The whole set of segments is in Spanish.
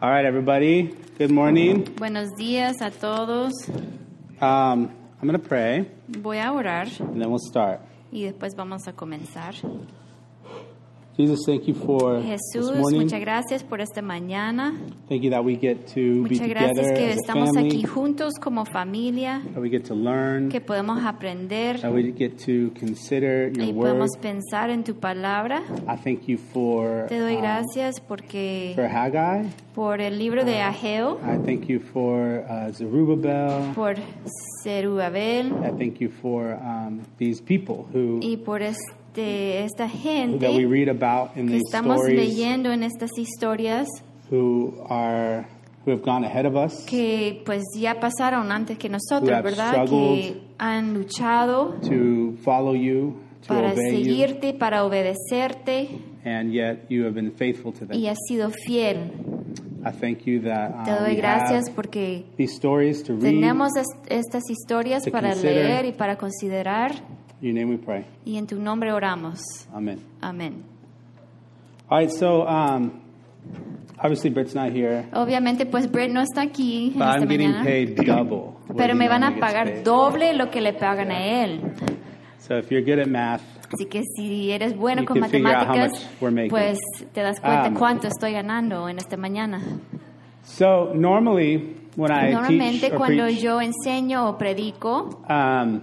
All right, everybody. Good morning. Buenos días a todos. Um, I'm going to pray Voy a orar and then we'll start. y después vamos a comenzar. Jesus, thank you for this Jesús, morning. muchas gracias por esta mañana. Thank you that we get to be Muchas gracias together que as a estamos family, aquí juntos como familia, that we get to learn, que podemos aprender that we get to consider your y word. podemos pensar en tu palabra. I thank you for, Te doy um, gracias porque for Haggai. por el libro de Ageo, I thank you for uh, Zerubbabel. por Zerubabel I thank you for um, these people who y por este esta that we gente read about in que these estamos stories leyendo en estas historias who are who have gone ahead of us. que pues ya pasaron antes que Who nosotros, have ¿verdad? struggled. Que han luchado to follow you, to para obey you, seguirte, para obedecerte and yet you have been faithful to them. y has sido fiel. I thank you that uh, Te doy we gracias have porque these stories to read. tenemos est- estas historias to para consider. leer y para considerar In your name we pray. y en tu nombre oramos. Amen. Amén. All right, so um, obviously Britt's not here, Obviamente pues Brett no está aquí en but I'm esta getting mañana, paid double. what pero he me van a normally gets pagar paid. doble lo que le pagan a él. So if you're good at math, Así que si eres bueno You con can figure out how matemáticas, much we're making. pues te das cuenta Um, cuánto estoy ganando en esta mañana. so normally when I Normalmente teach or cuando preach, yo enseño o predico, um,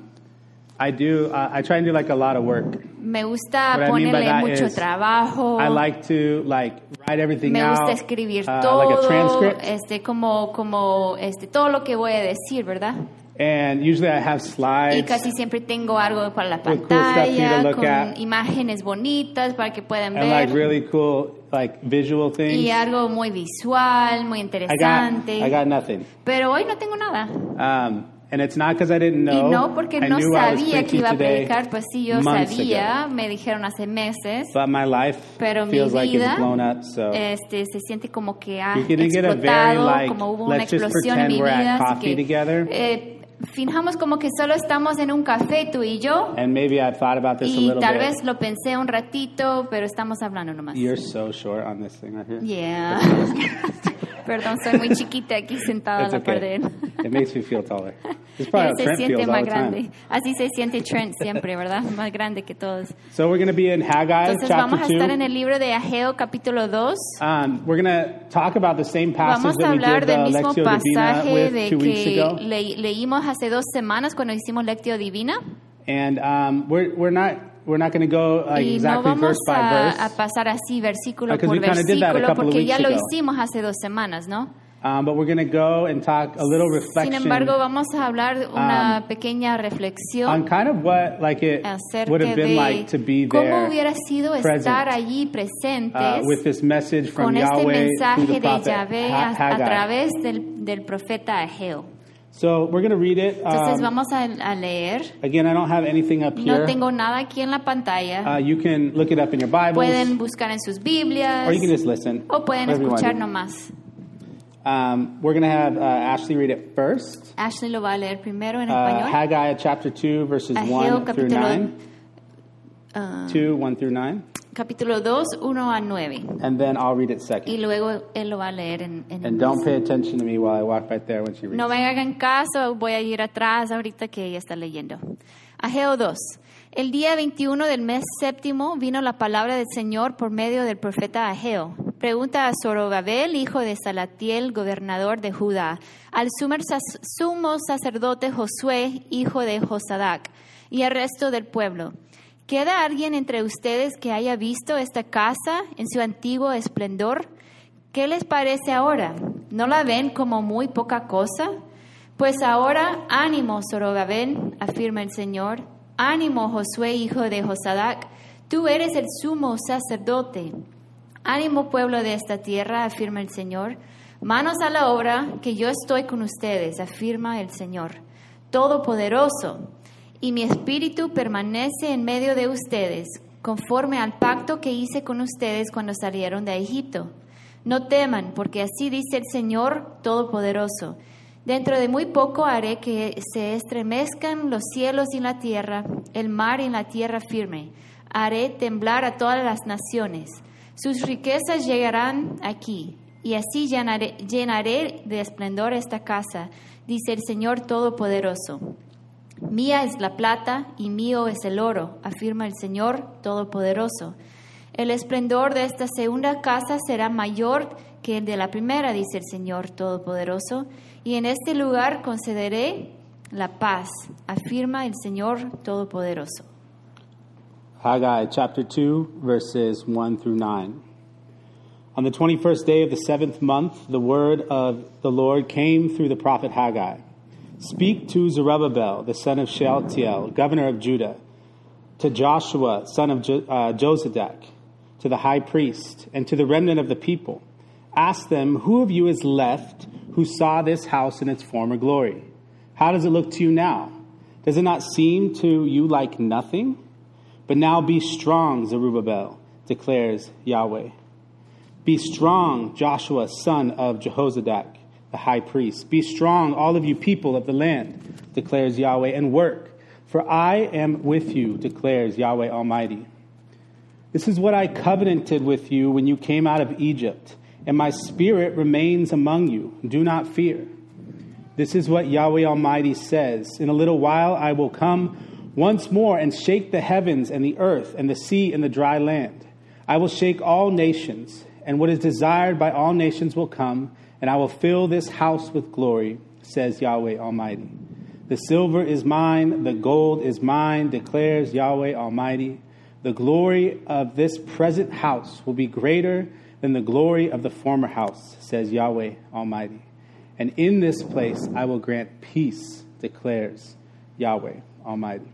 I do uh, I try and do like a lot of work. me gusta What I mean by ponerle that mucho is, trabajo. I like to like write everything Oh. me out, gusta escribir uh, todo, like a transcript. este como como este todo lo que voy a decir, ¿verdad? And usually I have Y slides. casi siempre tengo algo para la With cool stuff for you to pantalla look con at. imágenes bonitas para que puedan and like ver really cool like visual things. y algo muy visual, muy I got interesante. I got nothing. Pero hoy no tengo nada. Um, and it's not because I didn't Y know. no porque I no knew I was sabía que preaching iba a today predicar, pues sí, yo months sabía, ago. me dijeron hace meses, But my life pero mi feels like vida eh, it's blown up. So este, se siente como que ha You can get a explotado, very, like, como hubo una let's just explosión en mi pretend we're at vida, así coffee que together. eh, finjamos como que solo estamos en un café tú y yo, and maybe I've thought about this a y little tal bit. vez lo pensé un ratito, pero estamos hablando nomás. You're so short on this thing right here. Yeah. Perdón, soy muy chiquita aquí sentada a That's la par de okay. él. it makes me feel taller. It's probably how Él se Trent siente feels all más the grande. time. Así se siente Trent siempre, ¿verdad? Más grande que todos. So we're going to be in Haggai Entonces vamos chapter a two. estar en el libro de Ageo capítulo 2. Um, we're going to talk about the same passage Vamos a that we hablar did the del mismo Lectio Divina pasaje with de two weeks que ago. le- leímos hace dos semanas cuando hicimos Lectio Divina. And um, we're, we're not we're not going to go like, y no Ah, exactly vamos verse by a, a verse, pasar así versículo Because por we kinda did that a versículo couple of porque weeks ya lo ago. hicimos hace dos semanas, ¿no? um, but we're going to go and talk a little Sin reflection embargo, vamos a hablar Um, una pequeña reflexión on kind of what like it acerca would have been de like to be cómo there hubiera sido present, estar allí uh, presentes with this message from con este Yahweh through mensaje the de prophet Yahvé Ha- a, a Haggai. través del, del profeta Ageo. So we're going to read it. Entonces Um, vamos a, a leer. again, I don't have anything up No here. tengo nada aquí en la pantalla. Uh, you can look it up in your Bibles, pueden buscar en sus Biblias or you can just listen. o pueden whatever you wanna escuchar do. nomás. Um, we're going to have uh, Ashley read it first. Ashley lo va a leer primero en Uh, español. Haggai chapter 2, verses Ageo 1 through capítulo, 9. 2, 1 through 9. Ah, capítulo 2, 1 a 9. And then I'll read it Y second. luego él lo va a leer en, en And inglés. don't pay attention to me while I walk right there when she reads. No me hagan caso, voy a ir atrás ahorita que ella está leyendo. Ageo 2. El día 21 del mes séptimo vino la palabra del Señor por medio del profeta Ageo. Pregunta a Zorobabel, hijo de Salatiel, gobernador de Judá, al sumo sac- sumo sacerdote Josué, hijo de Josadac, y al resto del pueblo. ¿Queda alguien entre ustedes que haya visto esta casa en su antiguo esplendor? ¿Qué les parece ahora? ¿No la ven como muy poca cosa? Pues ahora, ánimo, Zorobabel, afirma el Señor. Ánimo, Josué, hijo de Josadac, tú eres el sumo sacerdote. Ánimo, pueblo de esta tierra, afirma el Señor. Manos a la obra, que yo estoy con ustedes, afirma el Señor. Todopoderoso, y mi espíritu permanece en medio de ustedes, conforme al pacto que hice con ustedes cuando salieron de Egipto. No teman, porque así dice el Señor Todopoderoso. Dentro de muy poco haré que se estremezcan los cielos y la tierra, el mar y la tierra firme. Haré temblar a todas las naciones. Sus riquezas llegarán aquí y así llenaré, llenaré de esplendor esta casa, dice el Señor Todopoderoso. Mía es la plata y mío es el oro, afirma el Señor Todopoderoso. El esplendor de esta segunda casa será mayor que el de la primera, dice el Señor Todopoderoso, y en este lugar concederé la paz, afirma el Señor Todopoderoso. Haggai chapter 2, verses 1 through 9. On the 21st day of the seventh month, the word of the Lord came through the prophet Haggai Speak to Zerubbabel, the son of Shealtiel, governor of Judah, to Joshua, son of jo- uh, Josedek, to the high priest, and to the remnant of the people. Ask them, Who of you is left who saw this house in its former glory? How does it look to you now? Does it not seem to you like nothing? But now be strong, Zerubbabel, declares Yahweh. Be strong, Joshua, son of Jehozadak, the high priest. Be strong, all of you people of the land, declares Yahweh, and work, for I am with you, declares Yahweh Almighty. This is what I covenanted with you when you came out of Egypt, and my spirit remains among you. Do not fear. This is what Yahweh Almighty says In a little while I will come once more and shake the heavens and the earth and the sea and the dry land. I will shake all nations, and what is desired by all nations will come, and I will fill this house with glory, says Yahweh Almighty. The silver is mine, the gold is mine, declares Yahweh Almighty. The glory of this present house will be greater than the glory of the former house, says Yahweh Almighty. And in this place I will grant peace, declares Yahweh Almighty.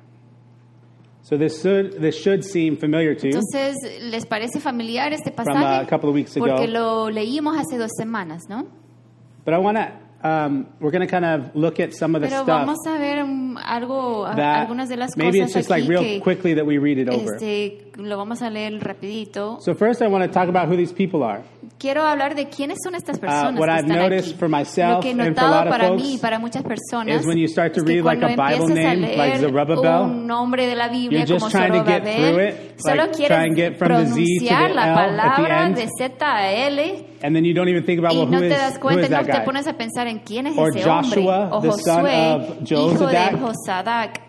So this should, this should seem familiar to you. Entonces, ¿les parece familiar este From uh, pasaje? a couple of weeks ago. Porque lo leímos hace dos semanas, ¿no? But I want to, um, we're going to kind of look at some of the Pero stuff vamos a ver um, algo, a- that algunas de las maybe cosas it's just aquí like real que quickly that we read it over. este, lo vamos a leer rapidito. so first, I want to talk about who these people are. Quiero hablar de quiénes son estas Uh, personas what que I've están noticed aquí. for myself Lo que he and for a notado lot of para folks mí y para muchas personas is when you start to es que read like cuando a Bible empiezas a name, leer like Zerubbabel, un nombre de la you're Biblia just como trying to get through Zorobabel, it, solo like, quieres try and get from the Z to the pronunciar L la at the palabra end. de Z a L And then you don't even think about, y well, no who te is, das who cuenta, is no that te guy? pones a pensar en quién es Or ese Joshua, hombre o the son Josué, of hijo de Josadak. Josadac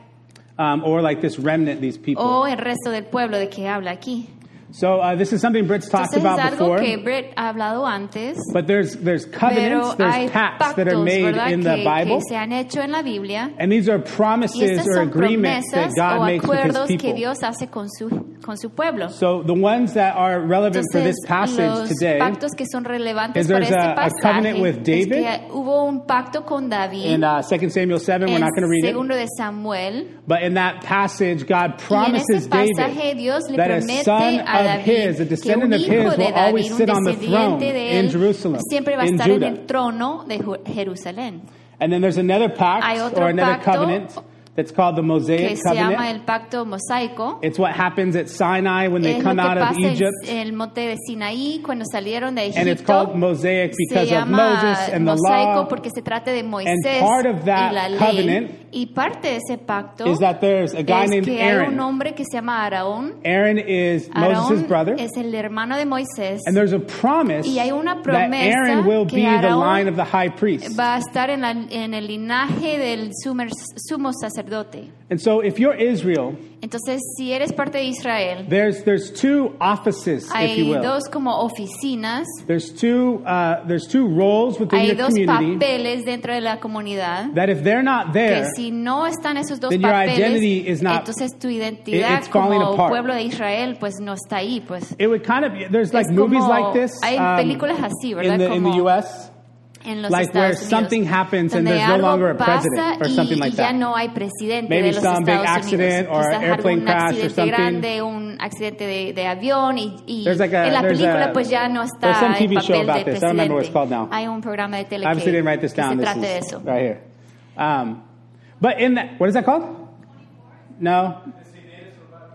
Um, or like this remnant, these people. o el resto del pueblo de que habla aquí. so uh, this is something Britt's talked Entonces es about algo before. que Brett ha hablado antes. But there's there's covenants, Pero hay there's pacts that are pactos, made ¿verdad? in que, the Bible, que se han hecho en la Biblia. and these are Y estas promises or son agreements that promesas o God makes with His acuerdos que people. Dios hace con su, con su pueblo. So the ones that are relevant for this Entonces, passage los today pactos que son relevantes is para there's este a- a pasaje covenant with es David. que hubo un pacto con David in uh, 2 Samuel 7, we're en not going to read it, segundo de Samuel. but in that passage, God Y en promises ese pasaje David Dios le that a promete son a of his, a David que un descendant of hijo his, de will always David, un sit on the throne descendiente de in él, Jerusalem, siempre va a in estar en el Judah. trono de Ju- Jerusalén. And then there's another Hay pact otro or another pacto covenant that's called the que Mosaic se llama covenant. el pacto mosaico. It's what happens at Sinai when they Es lo que come out of pasa en Egypt. el monte de Sinaí cuando salieron de And it's Egipto. called Mosaic Se because of llama Moses and the mosaico law porque se trata de Moisés part of that y la covenant ley. Y parte de ese pacto is that there's a guy es named que hay un Aaron. hombre que se llama Aarón. Aaron is Moses' Aarón brother. es el hermano de Moisés. And there's a promise Y hay una that promesa Aaron will que be the Aarón line of the high priest. Va a estar en, la- en el linaje del sumer- sumo sacerdote. And so if you're Israel, Entonces, si eres parte de Israel, there's there's two offices, if you hay will. dos como oficinas There's two uh, there's two roles within Hay your dos community papeles dentro de la comunidad that if they're not que there, si no están esos dos then your papeles, identity is not- entonces tu identidad it's falling como apart. pueblo de Israel pues no está ahí, pues. it would kind of be- there's like Es como- movies like this hay um, películas así, in ¿verdad? the in the Como- U.S. En los like where Estados Unidos, something happens and donde there's no algo longer a pasa president or y- something like y ya that. no hay presidente Maybe de los some big Estados accident Unidos. or Quizás airplane algún crash or accidente something. grande, un accidente de, de avión y, y There's like a- en la there's película a- pues ya no there's está some el TV show papel de about this. I don't remember what it's presidente. called now. Hay un programa de tele I que, obviously didn't write this que se down. This trate is de eso. right here. Um, but in that, what is that called? No.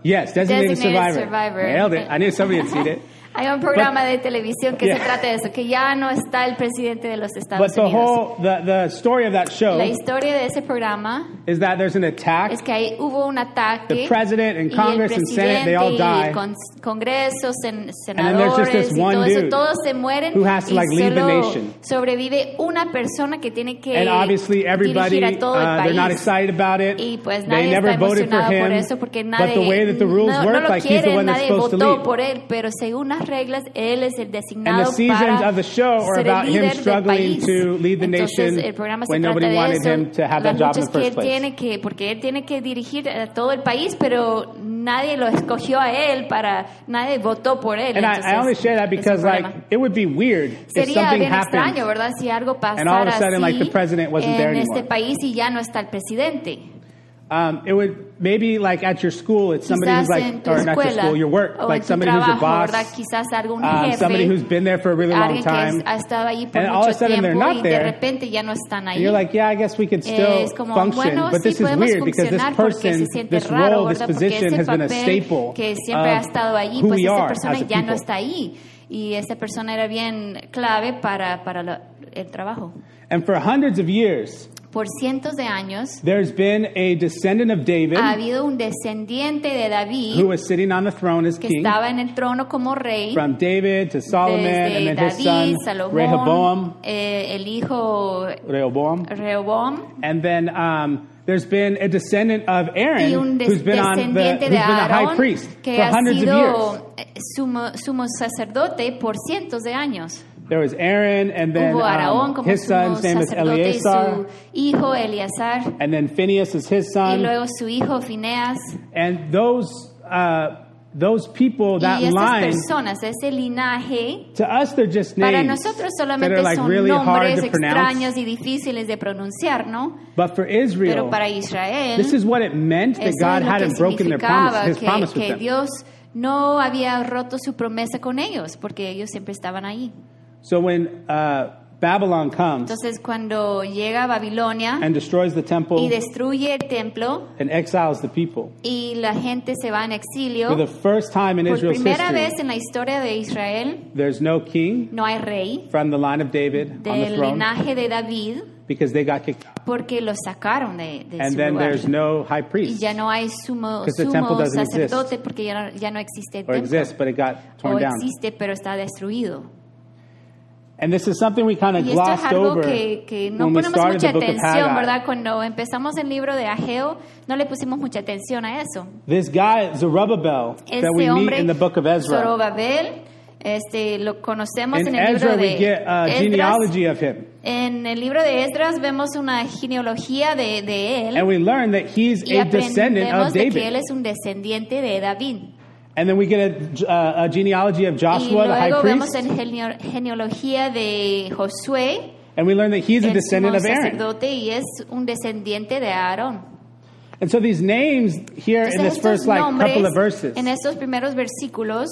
Yes, designated, Designated survivor. survivor. Nailed it. I knew somebody had seen it. Hay un programa de televisión que se trata de eso, que ya no está el presidente de los But Estados the Unidos. whole the, the story of that show La historia de ese programa is that there's an attack. es que ahí hubo un ataque The president and y Congress el and Senate, they presidente all y die. con- Congreso, sen- then there's just this senadores y one todo eso, dude todos se mueren who has to, y like, lead the solo nation. sobrevive una persona que tiene que and obviously everybody dirigir a todo el uh, they're país. not excited about it. Y pues they nadie never está voted for emocionado him. por eso porque but nadie the way that the rules no, no work, lo like he's the quieren, one that's nadie supposed to votó lead. por él, pero según las reglas él es el And designado the seasons para of the show are ser el about him líder del struggling país. to lead the Entonces, nation el programa se when trata nobody de wanted eso, him to have that las job in the luchas first que él place. tiene que porque él tiene que dirigir a todo el país, pero nadie lo escogió a él para nadie votó por él. And Entonces, I, I only share that es un because like problema. it would be weird if Sería something bien extraño, happened. ¿verdad? Si algo And all of a pasara sudden, así like, the president wasn't there en este anymore. país y ya no está el presidente. Um, it would maybe like at your school, it's somebody quizás who's en like tu or not your escuela school, your work, o like en tu somebody who's trabajo, your boss, ¿verdad? quizás algún um, jefe, somebody who's been there for a really long alguien time, que es- ha estado allí por and all of a mucho sudden they're tiempo not y de there, repente ya no están And ahí. you're like, yeah, I guess we could still es como, function, bueno, but sí this is podemos weird because this funcionar porque person, se siente this raro, role, this ¿verdad? Porque position ese has been a papel staple que siempre ha of estado allí, who pues we esa are persona as a ya no people. está ahí y esa persona era bien clave para, para lo- el trabajo. And for hundreds of years, Por cientos de años there's been a descendant of David ha habido un descendiente de who David was sitting on the throne as que king, estaba en el trono como rey. from David to Solomon, and desde then his son David, Salomón, Rehoboam, eh, el hijo Rehoboam, Rehoboam and then um, there's been a descendant of Aaron y un des- who's been on the, descendiente who's been de a high Aarón priest que for ha hundreds of years. sido eh, sumo, sumo sacerdote por cientos de años. There was Aaron, and then Hubo Aarón um, como his sumo son's name is sacerdote y Eleazar, su hijo Eleazar and then Phineas is his y son. luego su hijo Fineas And those uh, those people, that y estas line, personas, ese linaje to us they're just names para nosotros that solamente are like son really hard nombres to pronounce. extraños y difíciles de pronunciar, ¿no? But for Pero Israel, para Israel this is what it meant that Eso God es lo que hadn't broken their promise, significaba His que, promise with que them. Dios no había roto su promesa con ellos, porque ellos siempre estaban ahí. So when uh, Babylon comes Entonces, cuando llega a Babilonia and destroys the y temple destruye el templo and exiles the people, y la gente se va en for the exilio, first time in por Israel's primera history, vez en la historia de Israel there's no king no hay rey from the line of David on the del throne linaje de David because they got kicked out. porque lo sacaron de, de And su then lugar. there's no high Y priest ya no hay sumo, 'Cause the sumo temple doesn't exist. sacerdote porque ya no, ya no existe el or templo. exists, but it got O torn down. existe, pero está destruido. And this is something we kind of Y esto es glossed algo over que, que no when we ponemos started mucha the book of atención, Haggai. ¿verdad? Cuando empezamos el libro de Ageo, no le pusimos mucha atención a eso. This guy Zerubbabel that we Este meet hombre, in the book of Ezra. Zorobabel, este, lo conocemos In en el libro Ezra, we de get a Esdras. genealogy of him, En el libro de Esdras vemos una genealogía de, de and él we learn that he's y a descendant aprendemos of de que él David. es un descendiente de David. And then we get a, uh, a genealogy of y Joshua, the high luego vemos priest, en geneo- genealogía de Josué, and we learn that he's a el descendant sumo of Aaron. sacerdote y es un descendiente de Aarón. And so these names here in Entonces, this first estos like nombres, couple of verses, En estos primeros versículos,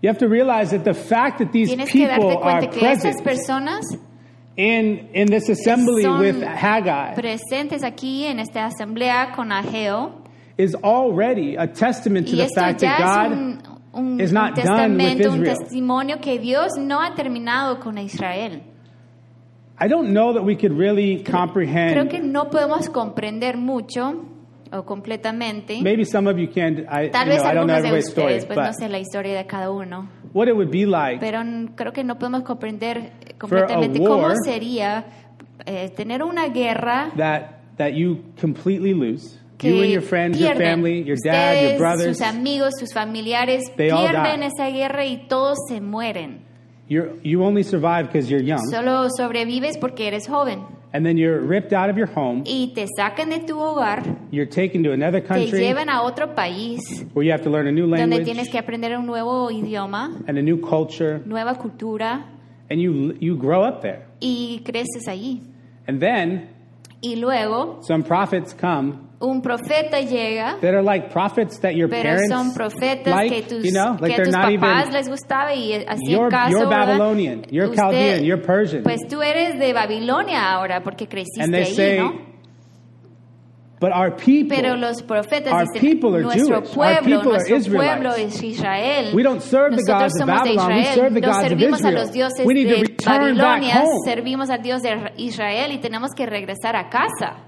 you have to realize that the fact that these tienes que darte people are cuenta que estas present personas in in this assembly son with Haggai presentes aquí en esta asamblea con Ageo, is already a testament to y the esto fact ya that es God un, un- is un not done with testamento, un Israel. testimonio que Dios no ha terminado con Israel. I don't know that we could really Creo comprehend. que no podemos comprender mucho o completamente. Maybe some of you can. I, you Tal know, vez I don't know algunos de everybody's ustedes, stories, pues no but sé la historia de cada uno. what it would be like pero n- creo que no podemos comprender eh, For a completamente cómo war- sería eh, tener una guerra that that you completely lose. que You and your friends, your pierden. family, your dad, your Ustedes, brothers, sus amigos, sus familiares They all pierden die. esa guerra y todos se mueren. you're, you only survive because you're young, Solo sobrevives porque eres joven and then you're ripped out of your home. y te sacan de tu hogar, You're taken to another te country llevan a otro país where you have to learn a new donde language tienes que aprender un nuevo idioma, and a new culture, nueva cultura and you you grow up there. y creces allí. And then Y luego some prophets come un profeta llega that are like prophets that your Pero parents son profetas like, que tus, you know, like que they're tus not papás even les gustaba y así You're, el caso, you're ¿verdad? Babylonian, you're Usted- Chaldean, you're Persian. Pues tú eres de Babilonia ahora porque creciste and they ahí, say, ¿no? But our people, Pero los profetas our dicen, people are nuestro Jewish. Our pueblo, people are nuestro Israelites. pueblo es Israel. We don't serve the Nosotros gods of somos de Babylon, we Israel. serve the No gods of servimos a Israel. los dioses We need to de return back Babilonia, home. servimos al Dios de Israel y tenemos que regresar a casa.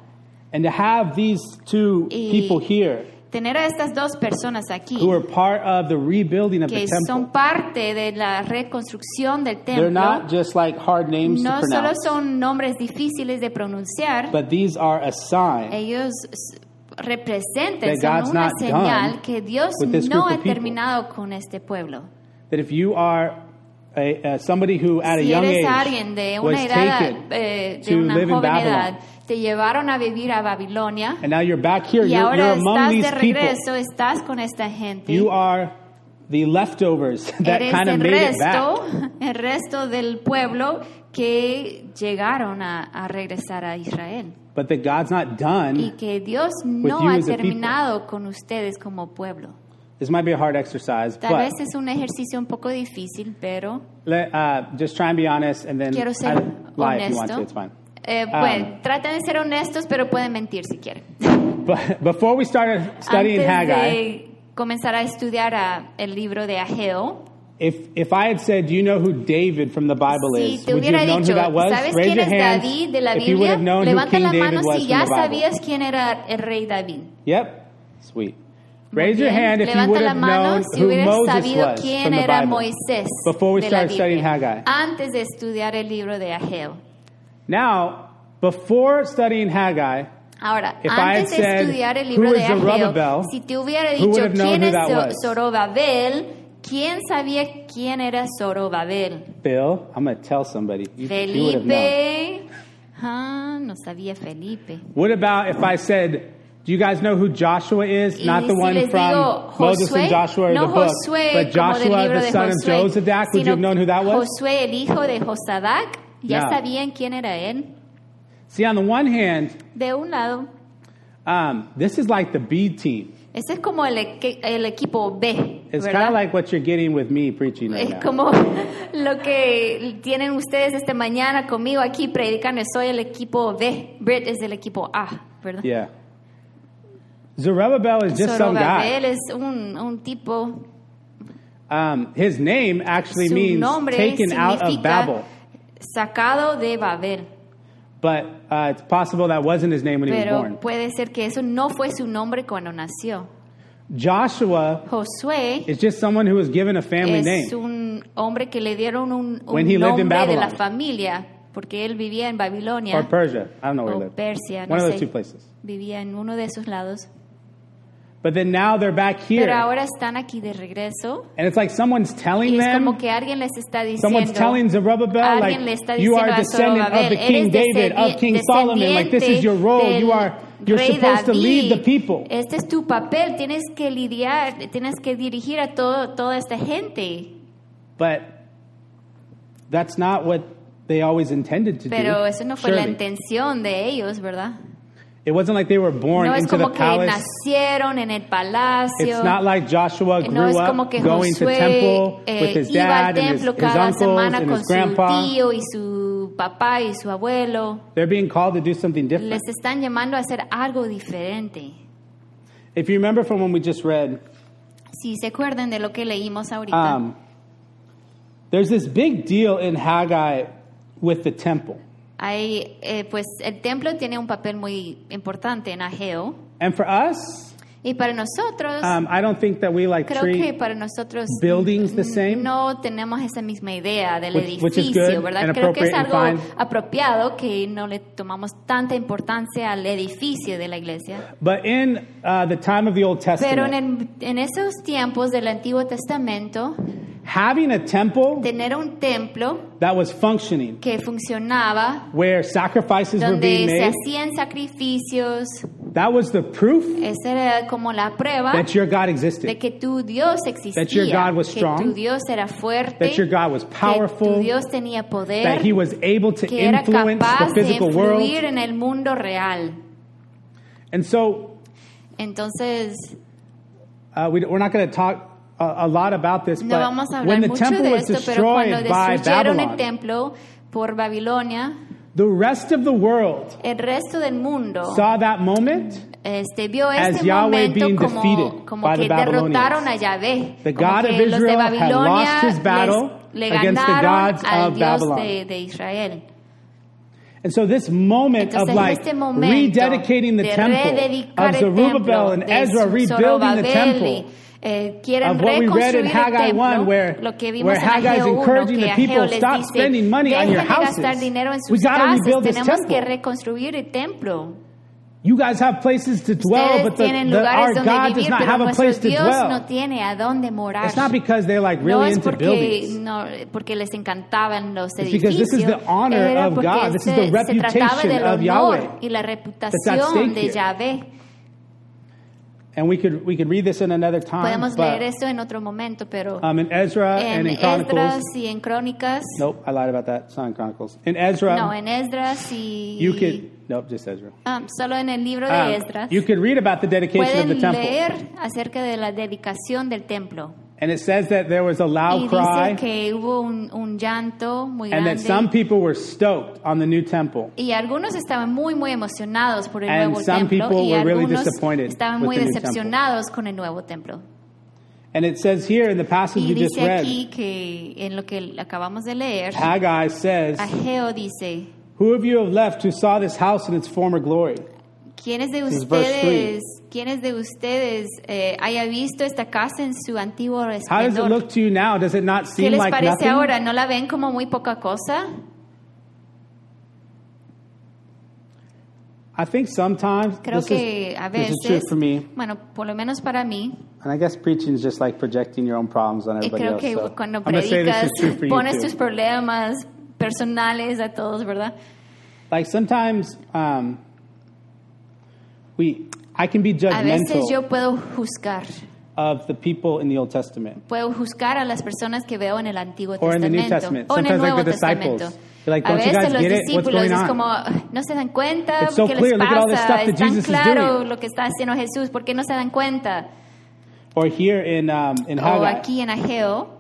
and to have these two Y- people here Tener a estas dos personas aquí who are part of the rebuilding of que the temple. son parte de la reconstrucción del templo They're not just like hard names to no solo pronounce, son nombres difíciles de pronunciar, but these are a sign ellos s- representan, That son God's una not señal done que Dios with this no group of ha people. terminado con este pueblo. that if you are a, uh, somebody who at a si young eres age alguien de was una edad, taken eh, to de una live in joven Babylon. edad, te llevaron a vivir a Babilonia and now you're back here, y you're, you're ahora among estás these de people, regreso, estás con esta gente. you are the leftovers that eres kind of el made it resto, back. el resto del pueblo que llegaron a, a regresar a Israel But that God's not y done. que Dios you no ha as a people. terminado con ustedes como pueblo. This might be a hard exercise, Tal but vez es un ejercicio un poco difícil, pero let, uh, just try and be honest, and then quiero I ser lie if you want to. honesto. It's fine. Eh, Um, pues, traten de ser honestos, pero pueden mentir si quieren. But before we started studying Antes Haggai, de comenzar a estudiar a- el libro de Ageo, If if I had said, "Do you know who David from the Bible si is?" te Would you hubiera have known dicho, who that was? ¿sabes Raise quién your es hands David de if la you would Biblia? have known who Levanta King la David mano was si from ya the Bible. sabías quién era el rey David. Yep, sweet. Muy Raise your bien. hand if you Levanta would la have mano known si who hubieras Moses sabido was quién from the era Bible Moisés before we de la started studying Biblia, Ah. Haggai. antes de estudiar el libro de Ageo. Now, before studying Haggai, Ahora, If I had antes de said, estudiar el "Who libro is de Ageo, Zerubbabel?", si te hubiera who would dicho have known quién who es that Zo- was? Zorobabel, ¿quién sabía quién era Zorobabel? Bill, I'm going to tell somebody. You, you would have known. Felipe. Ah, no sabía Felipe. What about if I said, "Do you guys know who Joshua is? Y Not the si one les from digo Moses Josué, and Joshua the no book, Josué but como del Joshua libro the de son of Josué, Josadak"? Would you sino have known who that was? Josué, el hijo de Josadac, ya No. sabían quién era él. See, on the one hand, De un lado, um, this is like the B team. este es como el, equi- el equipo B, It's kind ¿verdad? of like what you're getting with me preaching right es now. como lo que tienen ustedes esta mañana conmigo aquí predicando. Soy el equipo B, Britt es del equipo A, ¿verdad? Yeah. Zerubbabel is just some guy. Zorobabel es un, un tipo Um, his name actually su means nombre taken out of significa Babel, sacado de Babel. but uh, it's possible that wasn't his name when he was Pero born. puede ser que eso no fue su nombre cuando nació. Joshua Josué is just someone who was given a family es name. un hombre que le dieron un, un When he lived in nombre de la Babylon. familia porque él vivía en Or Babilonia Persia. I don't know where he o lived. Oh, Persia, no One of those two sé. places. Vivía en uno de esos lados. But then now they're back here. Pero ahora están aquí de regreso And it's like someone's telling y es como them, que alguien les está someone's telling diciendo Zerubbabel, alguien le like, está you diciendo are a a descendant of Zorobabel, the King eres David, of descendi- King Solomon. Like, this is your role. descendiente You are, you're del supposed to rey lead the David. Eh. people. Este es tu papel, tienes que lidiar, tienes que dirigir a todo, toda esta gente. But that's not what they always intended to Pero do. eso no fue la surely. intención de ellos, ¿verdad? It wasn't like they were born No es into the como que palace. nacieron en el It's palacio. not like Joshua grew eh, No es como up que going to Josué temple with eh, his iba al dad and his, templo his cada uncles semana and con his su grandpa. tío y su papá y su abuelo. They're being called to do something different. Les están llamando a hacer algo diferente. If you remember from when we just read, Si se acuerdan de lo que leímos ahorita, um, there's this big deal in Haggai with the temple. hay, eh, pues el templo tiene un papel muy importante en Ageo. And for us, Y para nosotros, um, I don't think that we like creo que treat para nosotros buildings the same. no tenemos esa misma idea del Which- which is edificio, good ¿verdad? and Creo que es appropriate algo and fine. apropiado que no le tomamos tanta importancia al edificio de la iglesia. But in uh, the time of the Old Pero Testament, en, el- en esos tiempos del Antiguo Testamento, having a temple tener un templo that was functioning, que funcionaba, where sacrifices were being donde se made, hacían sacrificios, that was the proof esa era como la prueba that your God de existed, que tu Dios That your existía, God was que strong, tu Dios era fuerte, that your God was que tu powerful, Dios tenía that He poder, was able to que era influence the capaz de physical world. influir en el mundo real. And so Entonces, uh, we, we're not going to talk a, a lot about this, no vamos a but hablar when the mucho temple de was esto, pero cuando destroyed by destruyeron el Babylon, templo por Babilonia, the rest of the world el resto del mundo saw that moment este, vio As este Yahweh momento being como, defeated como by the que derrotaron Babylonians. a Yahvé. The como God que of los de Israel had Babilonia lost his battle les- le against the ganaron gods al of Dios Babylon. de, de Israel. And so this moment Entonces, of like este momento rededicating the de temple rededicar of el templo Zerubbabel and de Ezra rebuilding the Zorobabel y, temple eh, quieren of what we read in reconstruir el Haggai templo, 1 where, lo que vimos where en Haggai Haggai is 1, encouraging que the Ageo people les stop dice, spending money on "Dejen your de gastar houses. dinero en We sus gotta casas, rebuild this tenemos que temple. reconstruir el templo. You guys have places to dwell, Ustedes but the, tienen the, lugares our donde God does vivir, not pero have a place nuestro to Dios no dwell. tiene a dónde morar. It's not because they're like no really es into porque, buildings. no, porque les encantaban los It's edificios. because this is the honor era of porque God. This is se- the se trataba reputation del of honor Yahweh y la stake reputación de here. Yahvé. And we could we could read this in another time. Podemos leer Um, But, esto en otro momento, pero um, in Ezra en and in Chronicles. Esdras y en Crónicas, Nope, I lied about that. It's not in Chronicles. In Ezra, no, en Esdras y you could nope, just Ezra. Ah, solo en el libro Um, de Esdras you could read about the dedication of the pueden temple, leer acerca de la dedicación del templo. and it says that there was a y loud dice cry, que hubo un, un llanto muy and that grande. some people were stoked on the new temple. Y algunos estaban muy, muy emocionados por el And nuevo some templo people y were really algunos disappointed estaban with muy the new decepcionados con el nuevo templo. And it says here in the passage Y you just dice read, aquí que en lo que acabamos de leer, Haggai says, Ageo dice, "Who of you have left who saw this house in its former glory?" ¿quiénes de This is verse ustedes, quiénes de ustedes eh, haya visto esta casa en su antiguo How does it resplandor? look to you now? Does it not ¿Qué seem les like parece nothing? ahora? ¿No la ven como muy poca cosa? I think sometimes Creo this que is, a this is true veces, for me, bueno, por lo menos para mí, and I guess preaching is just like projecting your own problems on Y everybody creo else. que so cuando I'm gonna say this predicas is true for you pones too. tus problemas personales a todos, ¿verdad? Like sometimes um, we, I can be A veces judgmental yo puedo juzgar, of the people in the Old Testament puedo juzgar a las personas que veo en el Antiguo or in the New Testamento Testament. o en el Sometimes Nuevo like the disciples, Testamento. they're like, a "Don't you veces guys los get it? What's discípulos going es on?" como, no se dan cuenta, It's so ¿qué clear. les Look at all this pasa? stuff that Es tan Jesus is claro doing. lo que está haciendo Jesús, ¿por qué no se dan cuenta? or here in um, in O Haggai. Um, aquí en Ageo,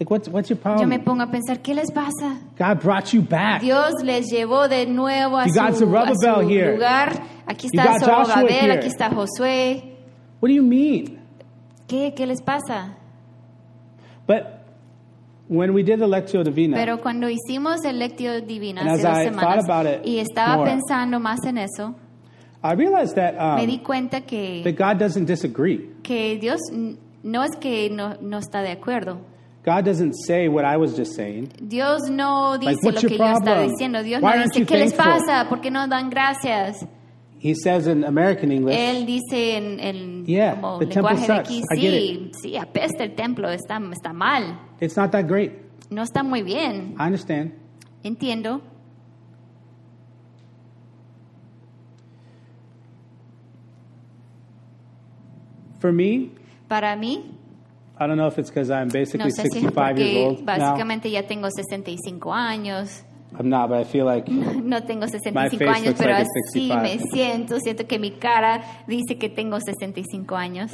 Like what's what's your yo me problem? pongo a pensar, ¿qué les pasa? God brought you back. Dios les llevó de nuevo a You su, got Zerubbabel a su here. lugar. Aquí You está got Joshua Zorobabel, here. aquí está Josué. What do you mean? ¿Qué, ¿Qué les pasa? But when we did the Lectio Divina, Pero cuando hicimos el Lectio Divina And hace as dos I semanas thought about it y estaba more, pensando más en eso, I realized that me um, di cuenta que, that God doesn't disagree. que Dios n- no es que no, no está de acuerdo. God doesn't say what I was just saying. Dios no dice Like, what's lo que your yo estaba problem? diciendo. Dios Why no aren't you dice, ¿qué les thankful?" pasa? ¿Por qué no dan gracias? He says in American English, Él dice en el Yeah, como the temple lenguaje de sucks. aquí, I get sí, sí, apesta el templo, está, está mal. "It's not that great." no está muy bien. I understand. Entiendo. For me, Para mí, I don't know if it's because I'm basically no sé si es 65 years porque old now. básicamente ya tengo 65 años. I'm not, but I feel like No tengo My face 65 años, looks pero like it's así 65. me siento. Siento que mi cara dice que tengo 65 años.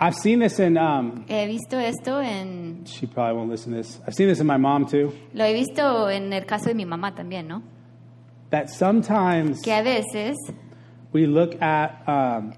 I've seen this in. Um, He visto esto en... she probably won't listen to this. I've seen this in my mom too. Lo he visto en el caso de mi mamá también, ¿no? That sometimes Que a veces we look at um,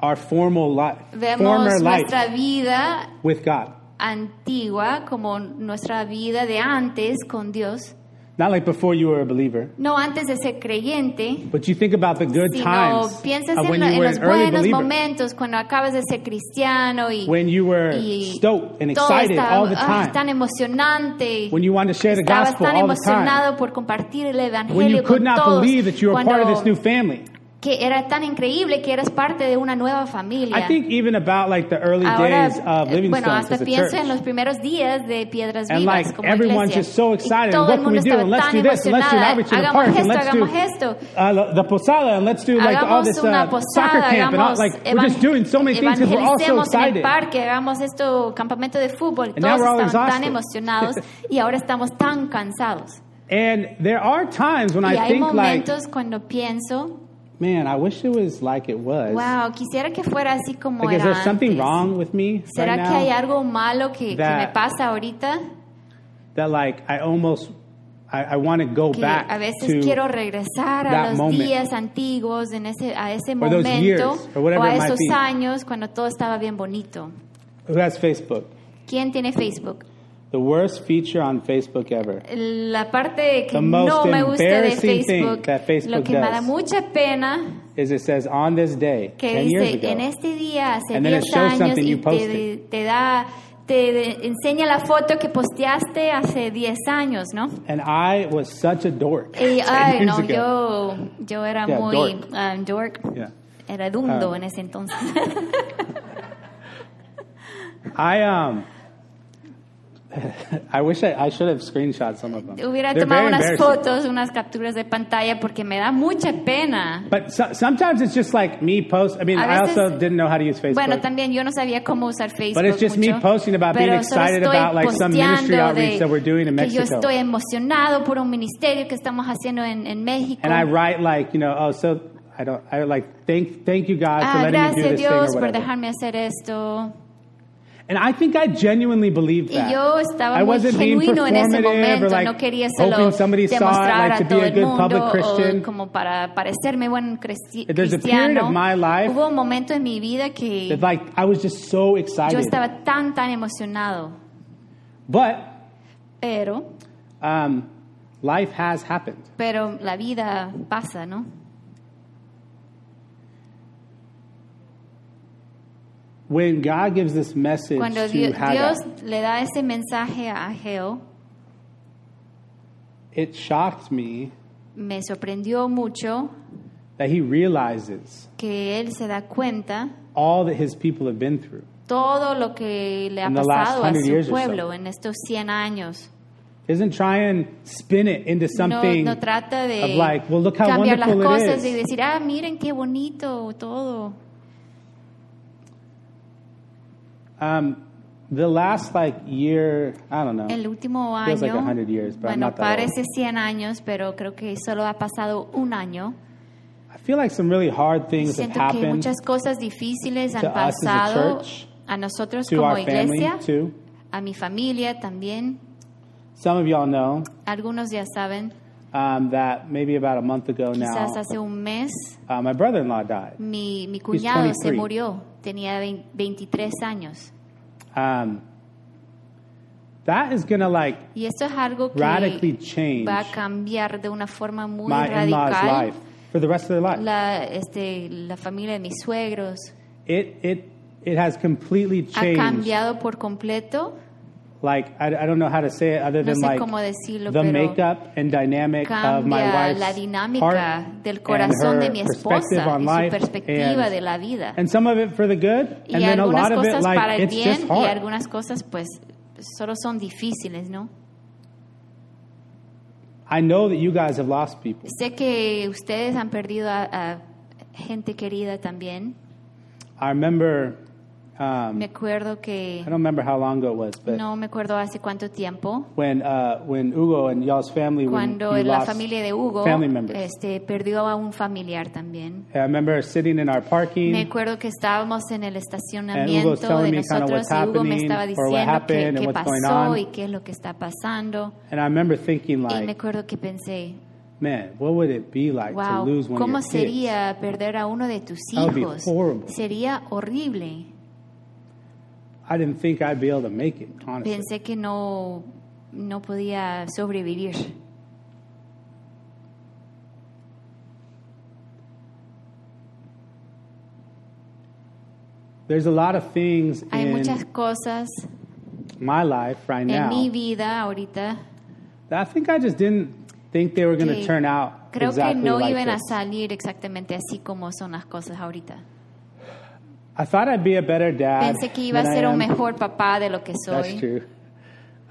our formal life, former vemos life nuestra vida with God, antigua como nuestra vida de antes con Dios. not like before you were a believer. No antes de ser creyente, But you think about the good sino times piensas of en, when lo- you en were los an early buenos believer, momentos cuando acabas de ser cristiano y, when you were y stoked and todo excited estaba- all the ah, time, tan emocionante when you wanted to share the estabas gospel tan all the time, emocionado por compartir el when you evangelio could con not todos believe that you were a part of this cuando- new family. que era tan increíble que eras parte de una nueva familia I think even about like the early Ahora, days of eh, bueno, Livingstone hasta as a pienso church. en los primeros días de Piedras And, Vivas like, como everyone's iglesia. just so excited. Y todo What el can we mundo do? estaba And let's tan do this, and let's do an emocionada. outreach in the hagamos park, and let's do esto, hagamos esto. uh, la- the posada, and let's do like all hagamos this una uh, posada, soccer camp, and all, hagamos like we're just doing so many things because we're all so evangelicemos en el excited. parque, hagamos esto campamento de fútbol. And now Todos we're all estaban tan exhausted. emocionados y ahora estamos tan cansados. And there are times when y I hay think like, momentos cuando pienso, man, I wish it was like it was. wow, quisiera que fuera así como Like, is era there something antes. wrong with me ¿Será right que hay now algo malo que, que that- me pasa ahorita? that like I almost I, I want to go que back a veces to quiero regresar that a los moment. días antiguos, en ese, a ese Or those years, momento or whatever o a it might esos be. años cuando todo estaba bien bonito. who has Facebook. ¿Quién tiene Facebook? The worst feature on Facebook ever. La parte The que most no me gusta de embarrassing thing Facebook, that uh, Facebook lo que me da does. mucha pena, Is it says on this day, que ten years dice, ago, en este día, hace And then it 10 shows años, something y you te, posted. te da, te de- enseña la foto que posteaste hace 10 años, ¿no? and I was such a dork. Y, 10 ay, years no, ago. yo, yo era Yeah, muy dork. um, dork. Yeah. Era dundo Um, en ese entonces. I um, I wish I, I should have screenshot some of them. Hubiera They're tomado very unas embarrassing. fotos, unas capturas de pantalla porque me da mucha pena. But so, sometimes it's just like me post. I mean, A I also veces- didn't know how to use Facebook. Bueno, también yo no sabía cómo usar Facebook. But it's just me mucho, posting about being pero solo excited estoy about, like, some ministry posteando outreach de that we're doing in que yo Mexico. estoy emocionado por un ministerio que estamos haciendo en, en México. and I write like you know, oh, so I don't. I like thank thank you God for ah, letting me do gracias this Dios thing or por whatever. dejarme hacer esto. And I think I genuinely believed Y that. yo estaba I muy wasn't being genuino en ese performative momento, or like no quería hoping solo somebody saw it, demostrar like a to be todo a el good public mundo Christian. o como para parecerme buen cresti- There's a period cristiano. of my life Hubo un momento en mi vida que That, like I was just so yo excited. estaba tan, tan emocionado, But pero, um, life has happened. pero la vida pasa, ¿no? When God gives this message Cuando to Dio- Haggai, Dios le da ese mensaje a Ageo, it shocked me me sorprendió mucho that he realizes que él se da cuenta all that his people have been through. todo lo que le ha In the last pasado a 100 years or su so. pueblo en estos 100 años. Isn't try and spin it into something no, no trata of de like, well, look how cambiar las wonderful it cosas is. y decir, ah, miren qué bonito todo. um, the last like year, I don't know. El último Ah. Feels like año, 100 years, but I'm bueno, not that old. parece 100 años, pero creo que solo ha pasado un año. I feel like some really hard things have Siento que happened muchas cosas difíciles to han us as a pasado church, a nosotros to como our family iglesia, too. a mi familia también. Some of y'all know Algunos ya saben, um, that maybe about a month ago now, quizás hace un mes, uh, my brother-in-law died. mi, mi cuñado se 23. murió, tenía 20 23 años. Um, that is going to like Y esto es algo que radically change va a cambiar de una forma muy my in-laws' radical life for the rest of their life. la, este, la familia de mis suegros. it it it has completely Ha changed. cambiado por completo, Like I, I don't know how to say it other No than sé like cómo decirlo, the pero makeup and dynamic of my cambia wife's la dinámica heart del and corazón her de mi perspective esposa on y su life perspectiva and, de la vida. and some of it for the good and Y then a lot algunas of it cosas like para el it's bien just y hard. algunas cosas pues solo son difíciles, ¿no? I know that you guys have lost people. Sé que ustedes han perdido a, a gente querida también. I remember um, Me acuerdo I que don't remember how long ago it was, but no me acuerdo hace cuánto tiempo when uh, when Hugo and y'all's family when cuando you la lost familia de Hugo family members. este, perdió a un familiar también. I remember sitting in our parking Me acuerdo que estábamos en el And Hugo's estacionamiento telling de me kinda nosotros what's y Hugo me happening estaba or what diciendo qué, happened and qué what's going pasó on. y qué es lo que está pasando. and I remember thinking y me like, acuerdo que pensé, man, what would it be like to wow, lose one ¿cómo of your kids? sería perder a uno de tus That would be hijos? horrible. Sería horrible. I didn't think I'd be able to make it, honestly. Pensé que no, no podía sobrevivir. There's a lot of things Hay muchas in cosas my life right en now mi vida ahorita that I think I just didn't think they were going to que turn out creo exactly que no like iban a this. salir exactamente así como son las cosas ahorita. I thought I'd be a better dad. Pensé que iba a than I ser un am. mejor papá de lo que That's soy. true.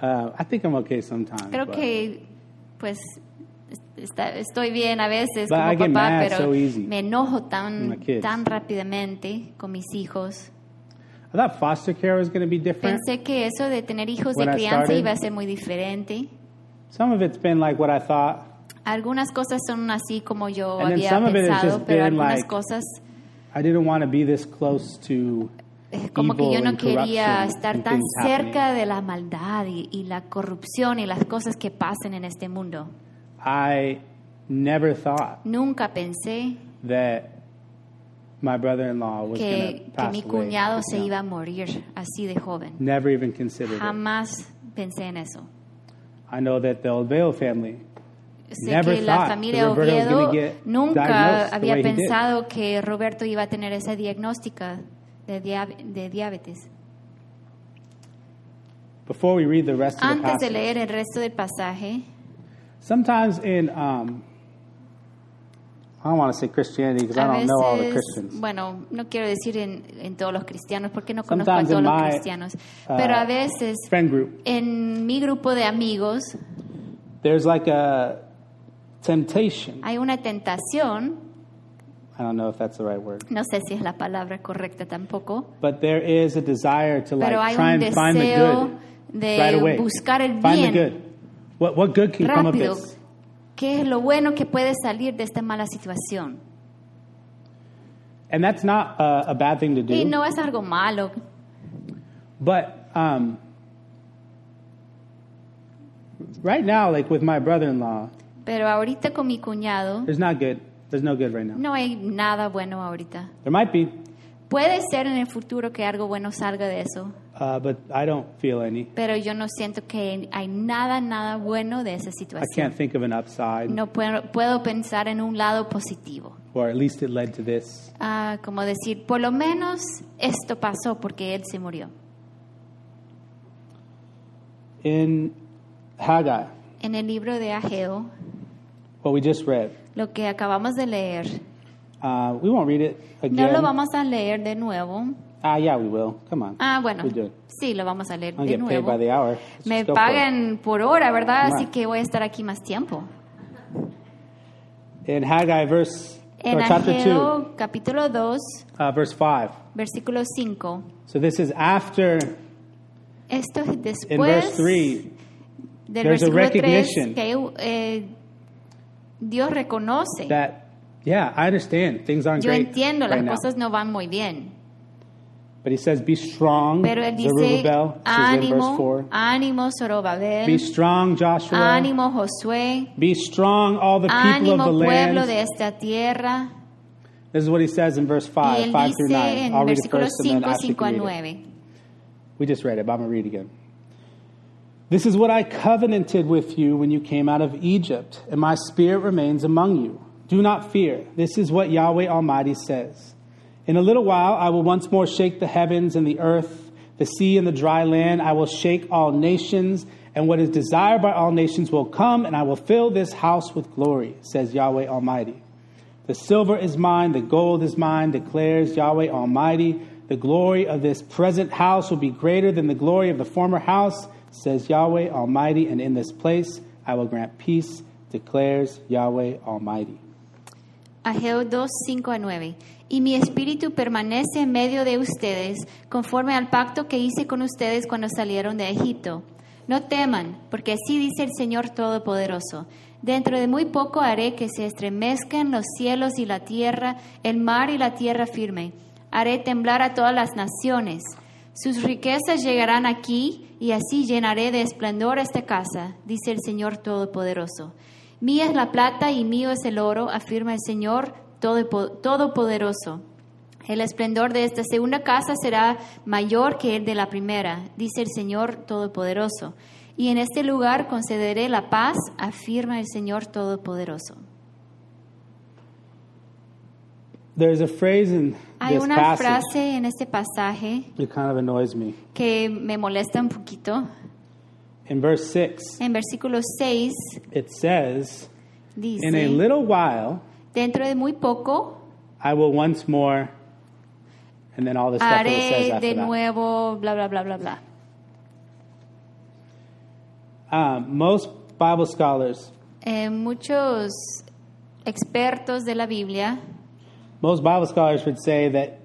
Uh, I think I'm okay sometimes. Creo but- que, pues, es- está- estoy bien a veces But I como get papá, mad pero so easy me enojo with tan, my kids. tan rápidamente con mis hijos. I thought foster care was going to be different. Pensé que eso de tener hijos When I de crianza started- iba a ser muy diferente. Some of it's been like what I thought. Algunas cosas son así como yo And then había some of it has pensado, just pero been algunas like- cosas I didn't want to be this close to es Eh, como que yo evil no and corruption quería estar and tan things cerca de la maldad y, y la corrupción y las cosas que pasan en este mundo. I never thought Nunca pensé that my brother-in-law was going que, to que pass mi away. cuñado this se young. iba a morir así de joven. Never even considered it. Jamás pensé en eso. I know that the Olveo family Sé Never que la thought that familia Roberto was Oviedo gonna get nunca diagnosed the había way he did. pensado que Roberto iba a tener esa diagnóstica de, dia- de diabetes. Before we read the rest of the Antes de passage, leer el resto del pasaje, sometimes in, um, I don't want to say Christianity because I a don't know all the veces, Christians. bueno, no quiero decir en, en todos los cristianos, porque no conozco a Sometimes todos in los my cristianos, uh, pero a veces friend group, en mi grupo de amigos there's like a temptation. hay una tentación, I don't know if that's the right word, no sé si es la palabra correcta tampoco, but there is a desire to like Pero hay try un and find the deseo good de right away. buscar el Find the bien. good. What what good can come of rápido. this? ¿Qué es lo bueno que puede salir de esta mala situación? And that's not a, a bad thing to do. Y no es algo malo, But um, right now, like with my brother-in-law, pero ahorita con mi cuñado there's not good. There's no good right now. no hay nada bueno ahorita. There might be, Puede ser en el futuro que algo bueno salga de eso, uh, but I don't feel any. pero yo no siento que hay nada, nada bueno de esa I situación. can't think of an upside, No puedo, puedo pensar en un lado positivo. or at least it led to this. Ah, como decir, por lo menos esto pasó porque él se murió. In Haggai, En el libro de Ageo, what we just read, lo que acabamos de leer, uh, we won't read it no again. lo vamos a leer de nuevo, Ah, yeah, we will. Come on. Ah, bueno. We do. Sí, lo vamos a leer I de get paid by nuevo. the hour. Let's Me just go for it. pagan por hora, ¿verdad? Come Así on. que voy a estar aquí más tiempo. In Haggai, verse En or chapter two, Ageo capítulo 2, uh, verse five. versículo 5. So this is after Esto es in después verse three. del there's a versículo 3 recognition. que eh, Dios reconoce. that yeah i understand things aren't Yo great entiendo, right las now. cosas no van muy bien. but he says be strong Pero él dice, Zerubbabel this is in verse ánimo, 4 ánimo, be Zorobabel, strong joshua ánimo, Josué, be strong all the people of the ánimo, land pueblo de esta tierra. this is what he says in verse Y 5 él 5 through dice 9 i'll en read it versículos first and 5, then Ashley 5 a can read it. 9. we just read it but i'm going to read it again this is what i covenanted with you when you came out of egypt and my spirit remains among you do not fear this is what yahweh almighty says In a little while, I will once more shake the heavens and the earth, the sea and the dry land. I will shake all nations, and what is desired by all nations will come, and I will fill this house with glory, says Yahweh Almighty. The silver is mine, the gold is mine, declares Yahweh Almighty. The glory of this present house will be greater than the glory of the former house, says Yahweh Almighty, and in this place I will grant peace, declares Yahweh Almighty. Ageo 2, 5 a 9. Y mi espíritu permanece en medio de ustedes, conforme al pacto que hice con ustedes cuando salieron de Egipto. No teman, porque así dice el Señor Todopoderoso. Dentro de muy poco haré que se estremezcan los cielos y la tierra, el mar y la tierra firme. Haré temblar a todas las naciones. Sus riquezas llegarán aquí, y así llenaré de esplendor esta casa, dice el Señor Todopoderoso. Mía es la plata y mío es el oro, afirma el Señor Todopo- Todopoderoso. El esplendor de esta segunda casa será mayor que el de la primera, dice el Señor Todopoderoso. Y en este lugar concederé la paz, afirma el Señor Todopoderoso. There's a phrase in Hay this una passage frase en este pasaje that kind of annoys me. que me molesta un poquito. In verse 6, En versículo 6 it says, In a dice, little while, dentro de muy poco I will once more, and then all the stuff that it says haré de after that. nuevo, bla, bla, bla, bla, bla. Um, most Bible scholars, Eh, muchos expertos de la Biblia, most Bible scholars would say that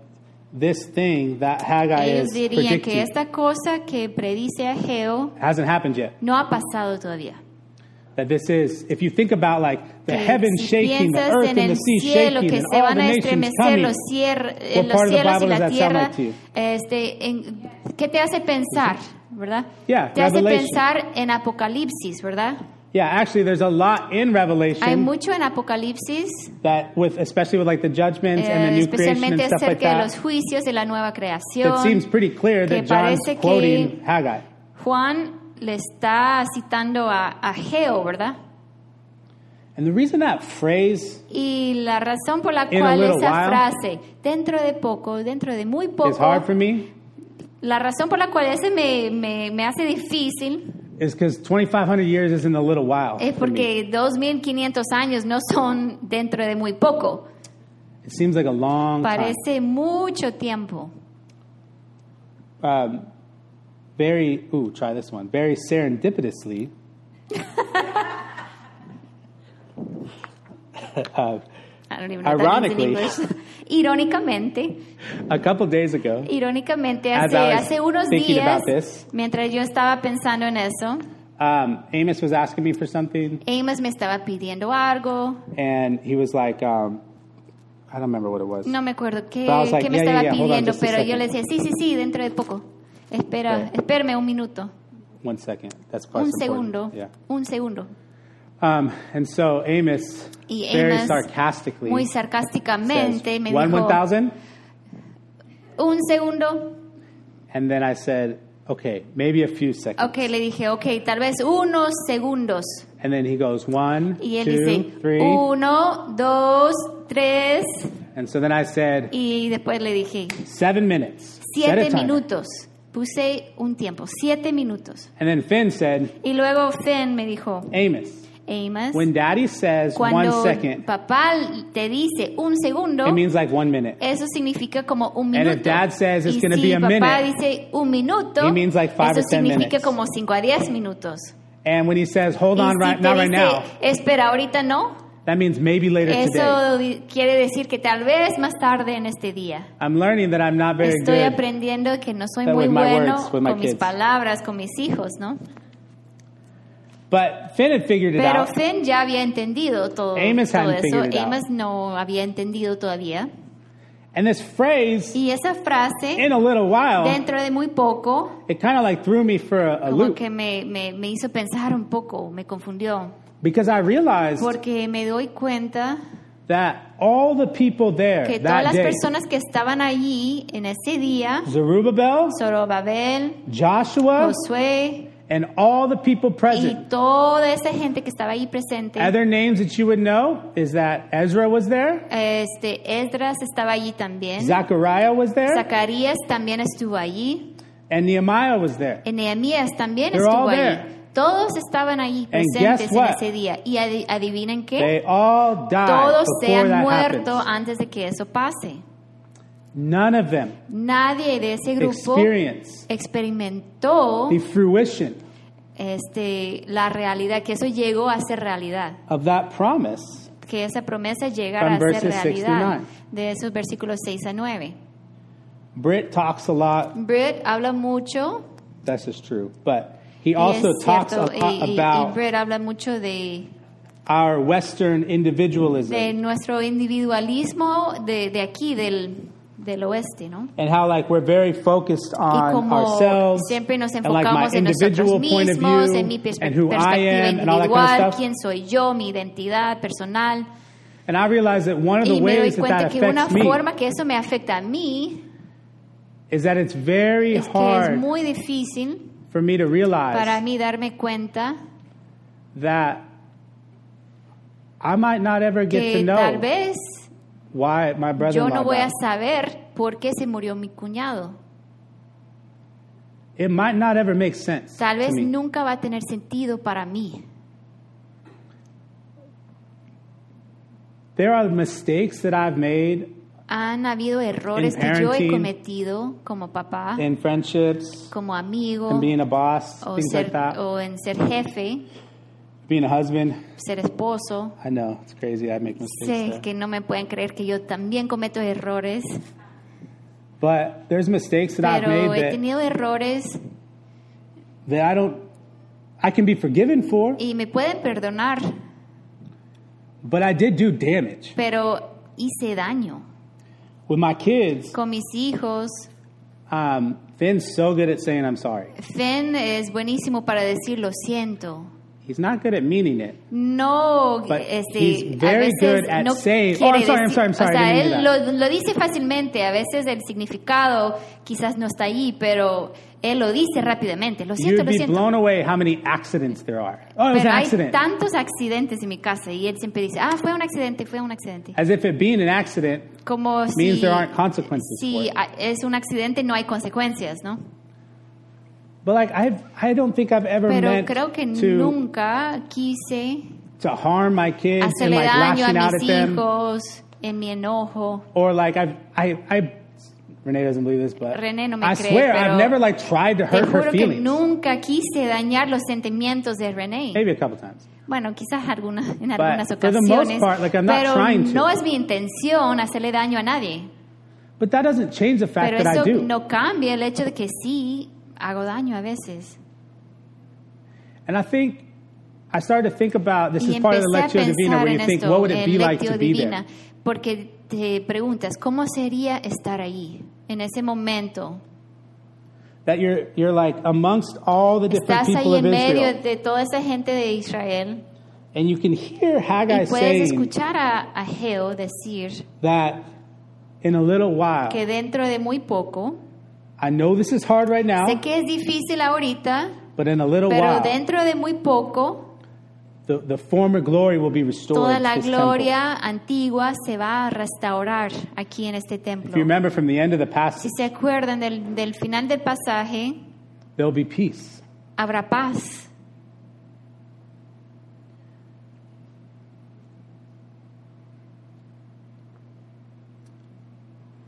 this thing that Haggai ellos is dirían que predicting esta cosa que predice Ageo hasn't happened yet. no ha pasado todavía. that this is. If you think about like the que heavens si shaking, the piensas earth and en the el sea cielo shaking, que and se all van the a nations estremecer coming, los, cier- eh, What los part of the cielos Bible does y that la sound tierra, like to you? este, en- ¿qué te hace pensar, verdad? Yeah, te hace Revelation. pensar en Apocalipsis, ¿verdad? yeah, actually, there's a lot in Hay Revelation mucho en Apocalipsis, that with especially with like the judgments eh, and the new creation and especialmente stuff like acerca de los that. juicios de la nueva It seems creación. pretty clear que that John's parece que- quoting Haggai. Juan le está citando a, a Geo, ¿verdad? And the reason that phrase Y la razón por la In a cual little esa while. frase, dentro de poco, dentro de muy is hard poco, for me La razón por la cual ese me, me, me hace difícil is because 2,500 years isn't a little while. es for me. porque 2.500 años no son dentro de muy poco. It seems like a long time. Parece mucho tiempo. Um, very, ooh, try this one. Very serendipitously. uh, I don't even know what that means in Ironically. English. irónicamente, a couple days ago, irónicamente, As hace, I was hace unos thinking días, about this. mientras yo estaba pensando en eso, um, Amos was asking me for something, Amos me estaba pidiendo algo, and he was like, um, I don't remember what it was. no me acuerdo qué, But I was like, qué me yeah, yeah, estaba yeah, hold on pidiendo, just a pero yo second. le decía, sí, sí, sí, dentro de poco. Espera, Okay. espérame un minuto, One second. That's quite un important. segundo, Yeah. un segundo. Um, and so Amos, Y very Amos, sarcastically, muy says, sarcásticamente me one dijo, one thousand, un segundo. and then I said, okay, maybe a few seconds, Ok, le dije, ok, tal vez unos segundos. and then he goes one, Y él two, dice, "Oh, three. uno, dos, tres. And so then I said, Y después le dije, seven minutes. Set a siete timer. minutos. Puse un tiempo, siete minutos. And then Finn said, Y luego Fenn me dijo, Amos, Amos, when daddy says one cuando second, papá te dice un segundo, it means like one minute. eso significa como un And minuto. if dad says it's y gonna si be a papá minute, dice un minuto, it means like five eso or ten significa minutes. como 5 a 10 minutos. And when he says, hold Y on, si right, te not right dice, now, Espera, ahorita no. that means maybe later today. Eso di- quiere decir que tal vez más tarde en este día. I'm learning that I'm not very Estoy good. aprendiendo que no soy That muy with my bueno words, with con my mis kids. palabras, con mis hijos, ¿no? But Finn had figured it Pero out. Finn ya había entendido todo, Amos todo hadn't eso. figured it out. Amos no había entendido todavía. And this phrase, Y esa frase, in a little while, dentro de muy poco, it kind of like threw me for a, a como loop que me, me, me hizo pensar un poco, me confundió. because I realized Porque me doy cuenta that all the people there que todas that las day, personas que estaban allí en ese día, Zerubbabel, Zorobabel, Joshua, Josué and all the people y present. toda esa gente que estaba ahí presente. Other names that you would know is that Ezra was there, Este, Esdras estaba allí también. Zechariah was there, Zacarías también estuvo allí. and Nehemiah was there. Y Nehemías también They're estuvo all allí. there. Todos estaban allí And presentes guess en what? ese día. Y adi- adivinen qué. They all died Todos se before han that muerto happened. antes de que eso pase. None of them Nadie de ese grupo experienced experimentó the fruition este, la realidad, que eso llegó a ser realidad. of that promise. que esa promesa llegara a From ser verses 6 to realidad 9. de esos versículos 6 a 9. Britt talks a lot. Brett habla mucho, That's just true, but he y also es talks cierto, a y, lot y- y about Brett habla mucho de, our Western individualism de nuestro individualismo de, de aquí, del, del oeste, ¿no? and how like we're very focused Y on como ourselves siempre nos and like my enfocamos en nosotros individual point of mismos, en mi view perspe- and who I perspectiva am and all that kind individual, of stuff. quién soy yo, mi identidad personal. And I realize that one of the Y me doy ways that that cuenta que una affects me forma que eso me afecta a mí is that it's very es que es hard muy difícil for me to para realize mí darme cuenta that I might not ever get to que tal know vez why my brother yo in no voy law a saber por qué se murió mi cuñado. It might not ever make sense Tal to vez me. nunca va a tener sentido para mí. There are mistakes that I've made Han habido errores In que yo he parenting, cometido como papá, in friendships como amigo, and being a boss, o, things ser- like that, o en ser jefe, being a husband. ser esposo. I know, it's crazy. I make mistakes. Sé there. que no me pueden creer que yo también cometo errores, But there's mistakes that I've pero made he that, tenido errores that I don't I can be forgiven for, y me pueden perdonar, but I did do damage. pero hice daño. With my kids, Con mis hijos, um, Finn's so good at saying I'm sorry. Fenn es buenísimo para decir lo siento. He's not good at meaning it. No, But este, he's a very veces good at no saying, quiere "Oh, I'm sorry, I'm decir- sorry, I'm sorry, I O sea, didn't él mean that." lo, lo dice fácilmente, a veces el significado quizás no está allí, pero él lo dice rápidamente. Lo siento, You'd lo be siento. blown away how many accidents there are. Oh, it was an Pero hay accident. tantos accidentes en mi casa y él siempre dice, ah, fue un accidente, fue un accidente. As if it being an accident Como means si, there aren't consequences for si it. a- es un accidente no hay consecuencias, ¿no? But like I've, I don't think I've ever Pero meant creo que to, nunca quise to harm my kids and hacerle like daño lashing a out at mis them, hijos en mi enojo. or like I've, I, I, Renee doesn't believe this, but René no me I cree, swear pero I've never like tried to Te hurt her juro que feelings. nunca quise dañar los sentimientos de René. Maybe a couple times. Bueno, quizás alguna- en But algunas for the most ocasiones. part, like, I'm not trying pero to. no es mi intención hacerle daño a nadie. But that doesn't change the fact Pero that I eso do. no cambia el hecho de que sí hago daño a veces. And I think I started to think about this Y is part of the empecé a Lectio Divina pensar where en you think, esto, what would it en be like Lectio to be Divina, there? porque te preguntas, ¿cómo sería estar ahí, en ese momento? That you're, you're like amongst all the different Estás ahí people of en medio Israel. de toda esa gente de Israel And you can hear Haggai y puedes saying escuchar a, a Geo decir that in a little while, que dentro de muy poco, I know this is hard right sé now, que es difícil ahorita, but in a little pero while, dentro de muy poco, the, the former glory will be restored. toda to la this temple. gloria antigua se va a restaurar aquí en este If you templo. remember from the end of the Si passage, se acuerdan del, del final del pasaje, there'll be peace. habrá paz.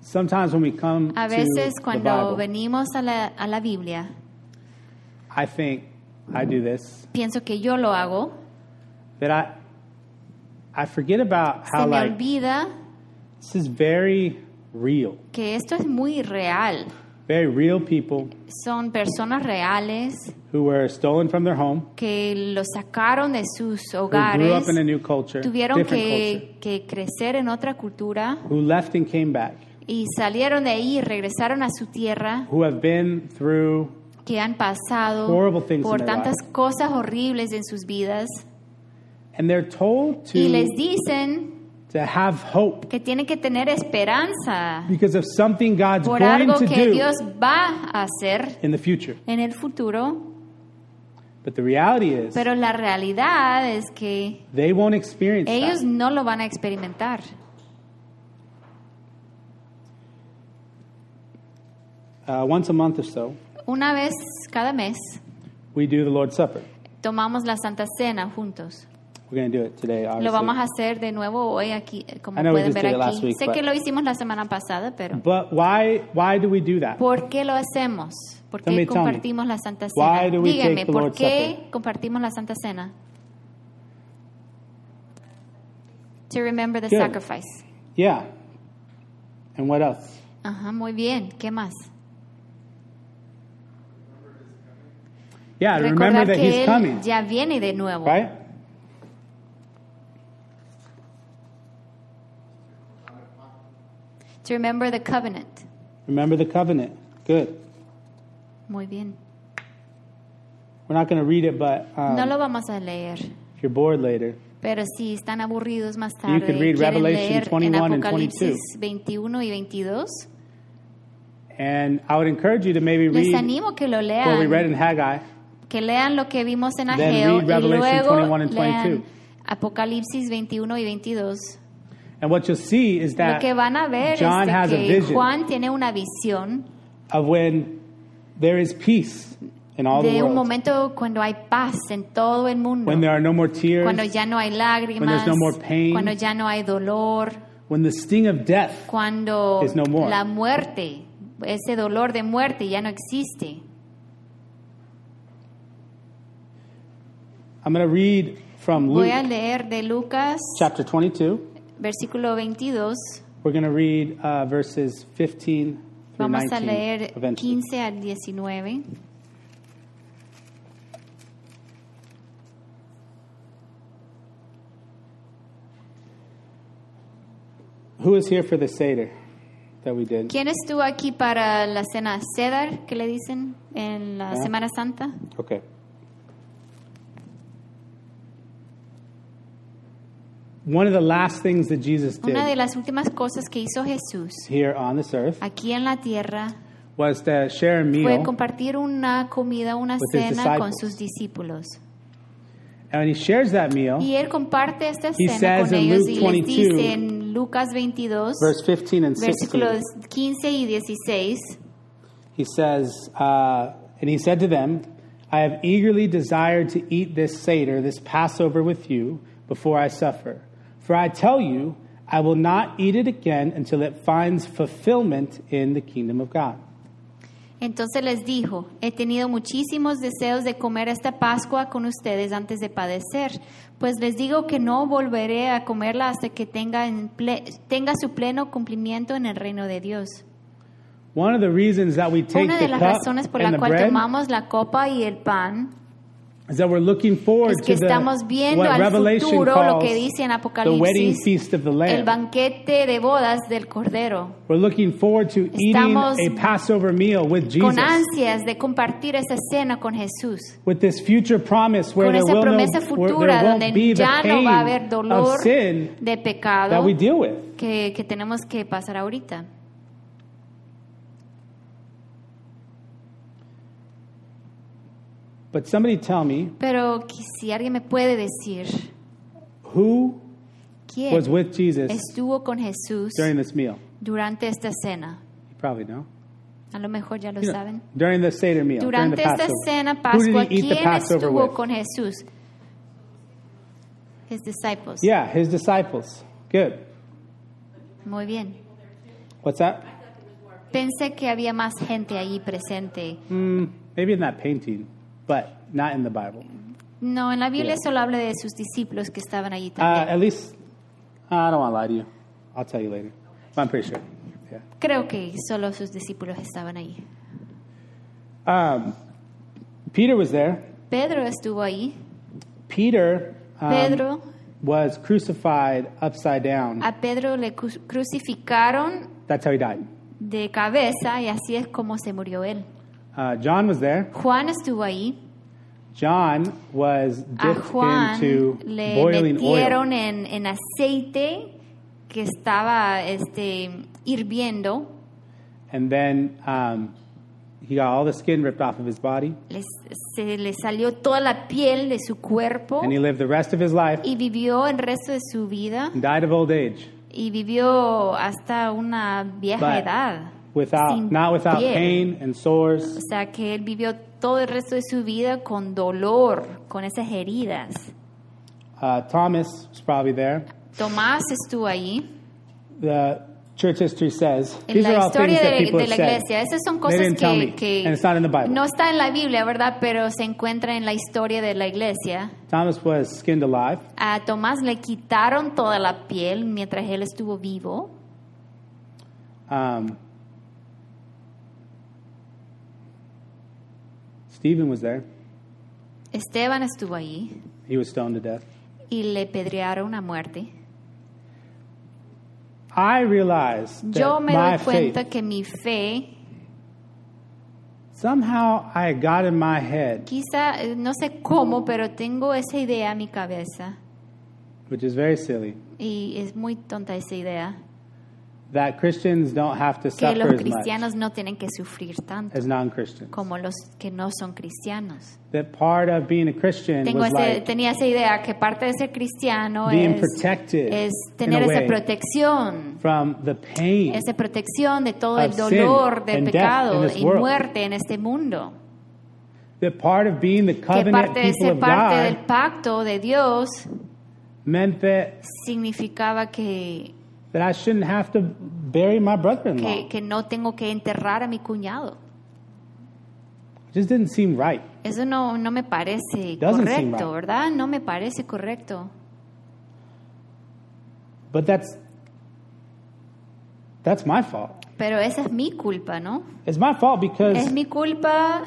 Sometimes when we come A to veces the cuando Bible, venimos a la, a la Biblia, I think I do this pienso que yo lo hago, that I I forget about se how me like olvida this is very real, que esto es muy real. very real people Son personas reales who were stolen from their home, que los sacaron de sus who grew up hogares. in a new culture, tuvieron different que, que crecer en otra cultura culture, who left and came back, y salieron de ahí y regresaron a su tierra, who have been through que han pasado Horrible things por in their tantas cosas horribles en sus vidas and they're told y les to dicen to have hope que tienen que tener esperanza because of something God's por going algo to que do Dios va a hacer in the future. en el futuro, But the reality is pero la realidad es que they won't experience ellos that. no lo van a experimentar. Uh, once a month or so, Una vez cada mes we do the Lord's Supper. tomamos la Santa Cena juntos. We're going to do it today, obviously. Lo vamos a hacer de nuevo hoy aquí, eh, como I know we pueden just ver did it last aquí. week, sé but- Mm. que lo hicimos la semana pasada, pero But why why do we do that? ¿por qué lo hacemos? ¿Por Tell me, qué tell me. compartimos la Santa Cena? Why do we take Díganme, the ¿por Lord's qué compartimos la Santa Cena? To remember the Good. sacrifice. Yeah. And what else? Ajá, muy bien. ¿Qué más? Yeah, to remember Recordar that que he's Él coming, ya viene de nuevo. right? To remember the covenant. Remember the covenant. Good. Muy bien. We're not going to read it, but um, no lo vamos a leer. if you're bored later, Pero si están aburridos más You tarde, can read quieren Revelation leer 21 and en Apocalipsis 21 y 22, and I would encourage you to maybe Les read animo que lo what we read lean, in Haggai, que lean lo que vimos en Then Ageo read y Revelation luego 21 and 22. lean Apocalipsis 21 y 22. and what you'll see is Lo that que van a ver John es has a de que vision. Juan tiene una visión of when there is peace in all the de un world, momento cuando hay paz en todo el mundo, when there are no more tears, cuando ya no hay lágrimas, no more pain, cuando ya no hay dolor, when the sting of death cuando is no more. la muerte, ese dolor de muerte ya no existe. I'm going to read from Voy a Luke leer de Lucas, chapter 22. versículo 22. We're going to read uh, verses 15 through Vamos 19 a leer eventually. 15 al 19. Who is here for the Seder that we did? ¿Quién estuvo aquí para la cena Cedar, que le dicen en la Ah. Semana Santa? Okay. One of the last things that Jesus Una de did las últimas cosas que hizo Jesús here on this earth aquí en la tierra was to share a fue meal. compartir una comida, una With his cena con disciples. sus discípulos. And when he shares that meal, Y él comparte esta He cena says con in ellos Luke y les 22, dice en Lucas 22, verse 15 and 16, versículos 15 y 16. he says, uh, And he said to them, I have eagerly desired to eat this Seder, this Passover with you, before I suffer. For I tell you, I will not eat it again until it finds fulfillment in the kingdom of God. Entonces les dijo, he tenido muchísimos deseos de comer esta Pascua con ustedes antes de padecer, pues les digo que no volveré a comerla hasta que tenga, en ple- tenga su pleno cumplimiento en el reino de Dios. One of the reasons that we take Una de the las cup razones por and the la cual bread tomamos la copa y el pan is that we're looking forward es que to the, estamos viendo what al Revelation futuro lo calls que dice en the wedding Apocalipsis, feast of the el Lamb. banquete de bodas del Cordero. we're looking forward to eating Estamos a Passover meal with Jesus, Con ansias de compartir esa cena con Jesús. with this future promise where con there esa will no, promesa where futura there won't be donde the ya no pain va a haber of dolor sin de that pecado we deal with. que, que tenemos que pasar ahorita. But somebody tell me Pero que si alguien me puede decir who quién was with Jesus estuvo con Jesús during this meal. durante esta cena, You probably know. a lo mejor ya lo You know, saben. During the Seder meal, during the Durante esta Passover. cena who Pascua, did he eat ¿quién the Passover estuvo with? con Jesús? His disciples. Yeah, his disciples. Good. Muy bien. What's that? Pensé que había más gente allí presente. Mm, maybe in that painting, but not in the Bible. No, en la Biblia Yeah. solo habla de sus discípulos que estaban allí Uh, también. at least, I don't want to lie to you. I'll tell you later. But I'm pretty sure. Yeah. Creo que solo sus discípulos estaban ahí. Um, Peter was there. Pedro estuvo ahí. Peter um, Pedro, was crucified upside down. a Pedro le cru- crucificaron That's how he died. de cabeza y así es como se murió él. Uh, John was there. Juan estuvo ahí. John was A dipped Juan into le boiling oil. metieron en, en aceite que estaba este, hirviendo. And then um, he got all the skin ripped off of his body. Les- se le salió toda la piel de su cuerpo And he lived the rest of his life y vivió el resto de su vida and died of old age y vivió hasta una vieja But- edad. without, Sin not without piel. pain and sores. O sea, que él vivió todo el resto de su vida con dolor, con esas heridas. Uh, Thomas was probably there. Tomás estuvo ahí. The church history says En these are la all things historia that de, people de have la said. iglesia, esas son They cosas didn't tell me, que, que and it's not in the Bible. no está en la Biblia, ¿verdad? Pero se encuentra en la historia de la iglesia. Thomas was skinned alive. A Tomás le quitaron toda la piel mientras él estuvo vivo. Um, Stephen was there. Esteban estuvo ahí He was stoned to death. y le pedrearon a muerte. I realize that Yo my me doy faith cuenta que mi fe, somehow I got in my head, quizá, eh, no sé cómo, pero tengo esa idea en mi cabeza. which is very silly, Y es muy tonta esa idea, that Christians don't have to que los suffer as much cristianos no tienen que sufrir tanto as non-Christians. como los que no son cristianos. That part of being a Christian Tengo was ese- like tenía esa idea que parte de ser cristiano being es, protected es in tener a esa way protección, from the pain esa protección de todo of el dolor, sin del and death pecado in this y world. muerte en este mundo. that part of being the Que covenant parte de people ser of parte del God pacto de Dios meant that, significaba que, that I shouldn't have to bury my brother-in-law. que, que no tengo que enterrar a mi cuñado. It just didn't seem right. Eso no, no me parece Doesn't seem right. correcto, ¿verdad? No me parece correcto. But that's that's my fault. Pero esa es mi culpa, ¿no? It's my fault because Es mi culpa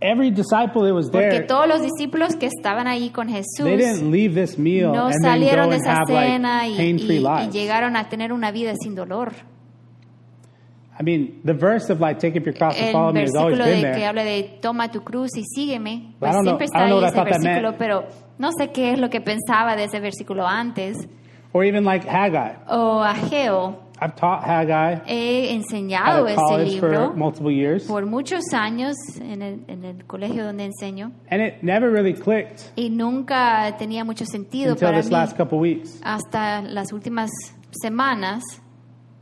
Every disciple that was Porque there, todos los discípulos que estaban ahí con they Jesús didn't leave this meal no and then salieron go de and esa have cena like y- pain-free y- y lives. llegaron a tener una vida sin dolor. I mean, the verse of like take up your cross and follow el me has always versículo been de que there. habla de toma tu cruz y sígueme, pues I don't know- siempre I está don't know what ahí I ese thought that versículo, meant. pero no sé qué es lo que pensaba de ese versículo antes. Or even like Haggai. O Ageo, I've taught Haggai he at enseñado a Ah, ese college for libro multiple years, por muchos años en el, en el colegio donde enseño and it never really clicked y nunca tenía mucho sentido until para this mí last couple weeks hasta las últimas semanas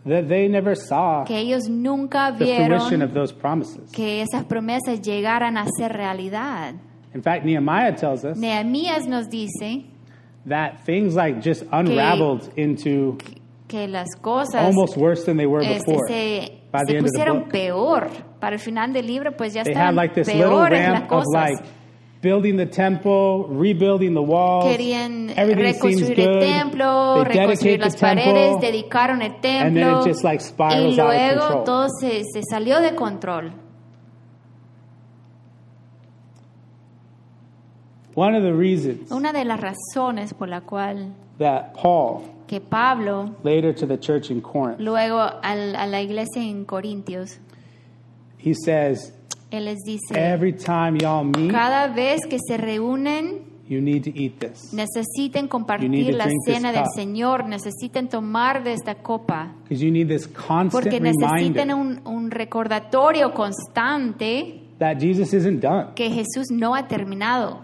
that they never saw que ellos nunca the fruition vieron of those promises. que esas promesas llegaran a ser realidad. In fact, Nehemiah tells us Nehemías nos dice that things like just unraveled into que las cosas almost worse than they were este, before. se, By se the end of the pusieron book, peor. Para el final del libro, pues ya they had estaban like this little peores las ramp of cosas. like building the temple, rebuilding the walls. Querían Everything seems reconstruir el good. templo, They reconstruir dedicate the las paredes, temple. dedicaron el and then templo it just, like, spirals y out of luego control. todo se, se salió de control. One of the reasons Una de las razones por la cual that Paul que Pablo later to the church in Corinth, luego al- a la iglesia en Corintios, he says, él les dice, every time y'all meet, cada vez que se reúnen you need to eat this You Necesiten need compartir to la drink this cena del cup. Señor, necesiten tomar de esta copa, because you need this constant porque necesitan reminder un, un recordatorio constante that Jesus isn't done, que Jesús no ha terminado,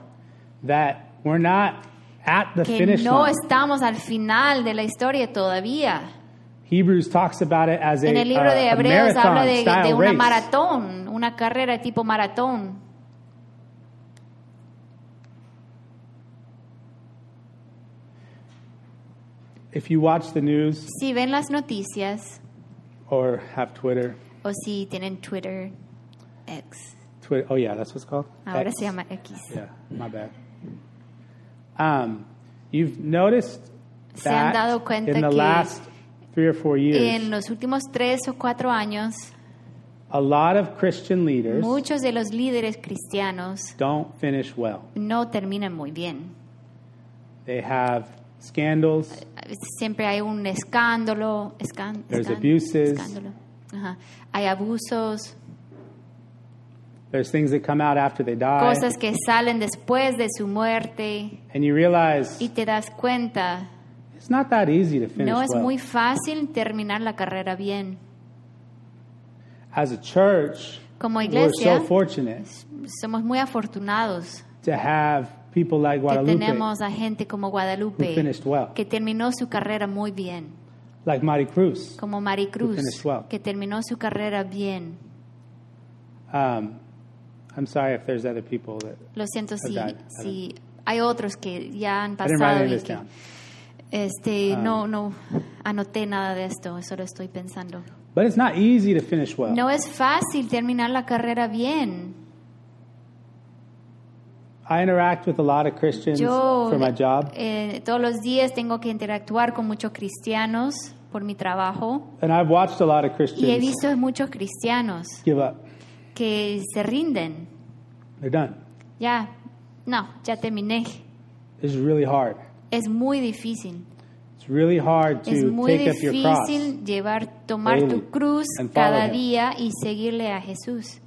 that we're not at the que finish no line. estamos al final de la historia todavía. Hebrews talks about it as a, en el libro uh, de a Hebreos habla marathon de, style de una race. maratón, una carrera tipo maratón. If you watch the news Si ven las noticias or have Twitter, o si tienen Twitter X, Twitter, oh yeah, that's what's called. ahora X. se llama X. Yeah, my bad. Um, you've noticed Se han that dado cuenta in the que last three or four years, En los últimos tres o cuatro años a lot of Christian leaders Muchos de los líderes cristianos don't finish well. no terminan muy bien. They have scandals. Siempre hay un escándalo, escan- There's escan- abuses. escándalo. Ajá. hay abusos, There's things that come out after they die, cosas que salen después de su muerte and you realize y te das cuenta, it's not that easy to finish no es well. muy fácil terminar la carrera bien. As a church, Como we're so iglesia fortunate somos muy afortunados to have people like que Guadalupe, tenemos a gente como who Guadalupe finished well. que terminó su carrera muy bien, like Mari Cruz. como Maricruz finished well. que terminó su carrera bien. Um, I'm sorry if there's other people that Lo siento si, Verdad, si hay otros que ya han I didn't write pasado any of y this que down. Ah. este, no, no anoté nada de esto, solo estoy pensando. But it's not easy to finish well. No es fácil terminar la carrera bien. I interact with a lot of Christians Yo for my job, eh, todos los días tengo que interactuar con muchos cristianos por mi trabajo and I've watched a lot of y he Christians visto muchos cristianos give up. que se rinden. They're done. Ya, no, ya terminé. This is really hard. Es muy difícil. It's really hard Es to muy take up your cross. difícil llevar, tomar daily tu cruz and follow cada him. día y seguirle a Jesús.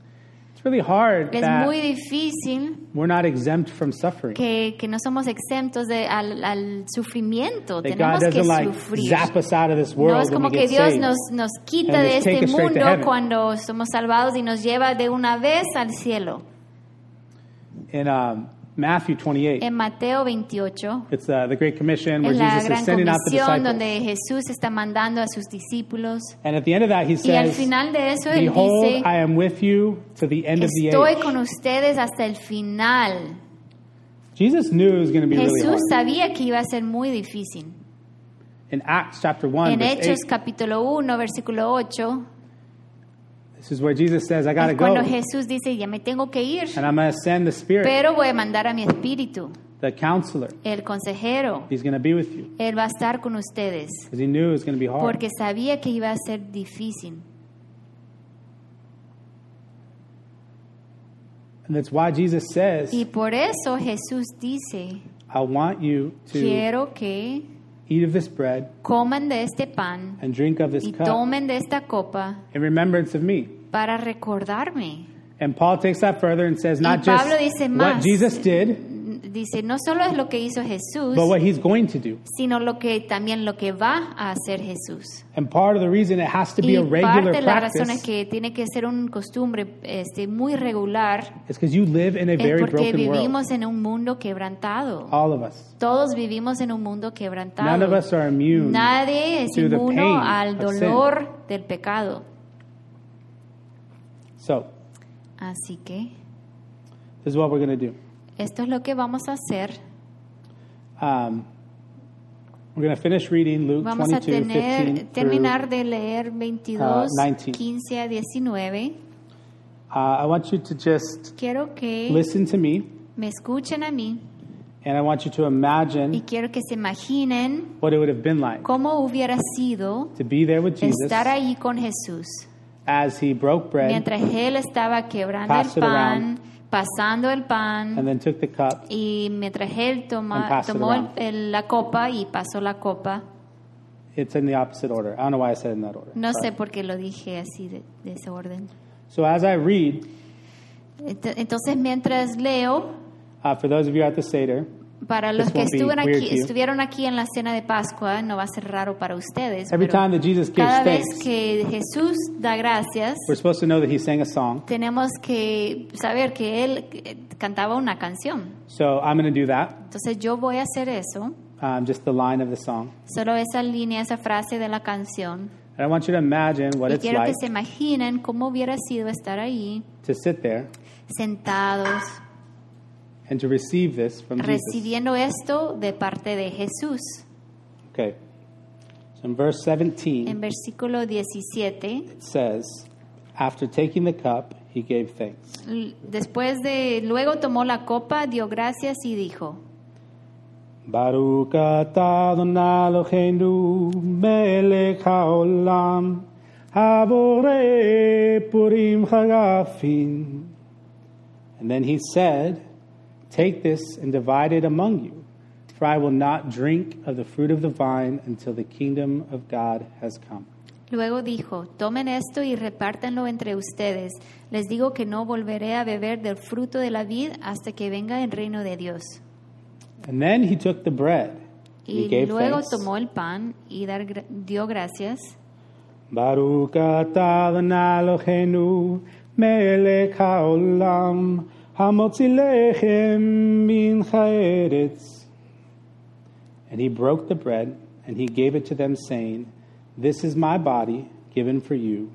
It's really hard Es that muy difícil we're not exempt from suffering. que, que no somos exentos de, al, al sufrimiento. That God Tenemos que doesn't like sufrir. zap us out of this No world es como when we que get Dios saved. nos, nos quita and de just take este us straight to mundo heaven. cuando somos salvados y nos lleva de una vez al cielo. In um, Matthew 28, En Mateo 28, it's uh, the Great Commission where en la Jesus is gran sending out the disciples. comisión donde Jesús está mandando a sus discípulos. And at the end of that, he Y al says, final de eso él dice, Behold, I am with you to the end of the Estoy age. con ustedes hasta el final. Jesus knew it was going to be really Jesús hard. sabía que iba a ser muy difícil. In Acts chapter 1, En verse Hechos 8, capítulo 1, versículo 8, this is where Jesus says, I got to es cuando go. Jesús dice, ya me tengo que ir, And I'm going to send the Spirit, pero voy a mandar a mi espíritu, the counselor. el consejero. He's going to be with you. Él va a estar con ustedes, Because he knew it was going to be hard. porque sabía que iba a ser difícil. And that's why Jesus says, Y por eso Jesús dice, I want you to quiero que eat of this bread coman de este pan and drink of this y cup tomen de esta copa in remembrance of me. para recordarme. And Paul takes that further and says, not Y just Pablo dice what más. Jesus did, Dice, no solo es lo que hizo Jesús, but what he's going to do. sino lo que también lo que va a hacer Jesús. And part of the reason it has to be Y a parte regular de la razón es practice que tiene que ser una costumbre este, muy regular is because you live in a es very porque broken world. vivimos en un mundo quebrantado. All of us. Todos vivimos en un mundo quebrantado. None of us are immune. Nadie es to the pain inmuno al of dolor del pecado. So, Así que this is what we're going to do. esto es lo que vamos a hacer. Um, we're going to finish reading Luke Vamos a 22, tener, 15 through, terminar de leer 22, uh, 19. 15 a 19. uh, I want you to just Quiero que listen to me, me escuchen a mí and I want you to y imagine quiero que se imaginen what it would have been like cómo hubiera sido to be there with Jesus estar ahí con Jesús. as he broke bread mientras él estaba quebrando el Pass it pan, pasando el pan, and then took the cup. y mientras él toma- and pass it tomó el- around. el- la copa y pasó la copa, It's in the opposite order. I don't know why I said it in that order. no Sorry. sé por qué lo dije así de, de ese orden. So as I read, Ent- Entonces mientras leo, uh, for those of you at the Seder, para This los que won't be estuvieron weird aquí, to you. estuvieron aquí en la cena de Pascua, no va a ser raro para ustedes. every pero time that Jesus gives cada vez thanks, Pues- que Jesús da gracias, we're supposed to know that he sang a song. tenemos que saber que él eh, cantaba una canción. So I'm going to do that, Entonces yo voy a hacer eso. um, just the line of the song. Solo esa línea, esa frase de la canción. And I want you to imagine what Y it's quiero que like se imaginen cómo hubiera sido estar ahí, to sit there sentados, and to receive this from Jesus. recibiendo esto de parte de Jesús. Okay. So in verse 17, En versículo 17, it says, After taking the cup, he gave thanks. l- después de, luego tomó la copa, dio gracias y dijo, Baruch atah Adonai Eloheinu melech haolam habore purim hagafin. And then he said, Take this and divide it among you, for I will not drink of the fruit of the vine until the kingdom of God has come. luego dijo, tomen esto y repártanlo entre ustedes. Les digo que no volveré a beber del fruto de la vid hasta que venga el reino de Dios. And then he took the bread and he Y gave luego thanks. tomó el pan y dar gra- dio gracias. Baruch atah Adonai Eloheinu melech haolam hamotzi lechem min haaretz. And he broke the bread and he gave it to them, saying, This is my body given for you.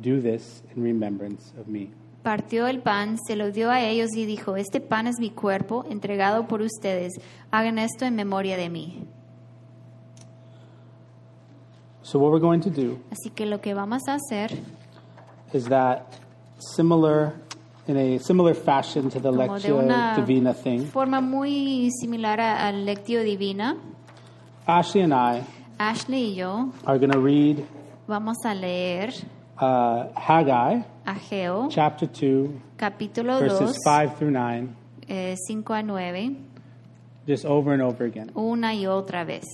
Do this in remembrance of me. Partió el pan, se lo dio a ellos y dijo, este pan es mi cuerpo entregado por ustedes, hagan esto en memoria de mí. So, what we're going to do Así que lo que vamos a hacer, is that similar, in a similar fashion to the como de lectio una divina thing, forma muy similar a- al lectio divina, Ashley and I Ashley y yo are going to read vamos a leer uh, Haggai. Ageo, chapter 2, capítulo verses 2, 5 through 9, 5 a 9, just over and over again. una y otra vez.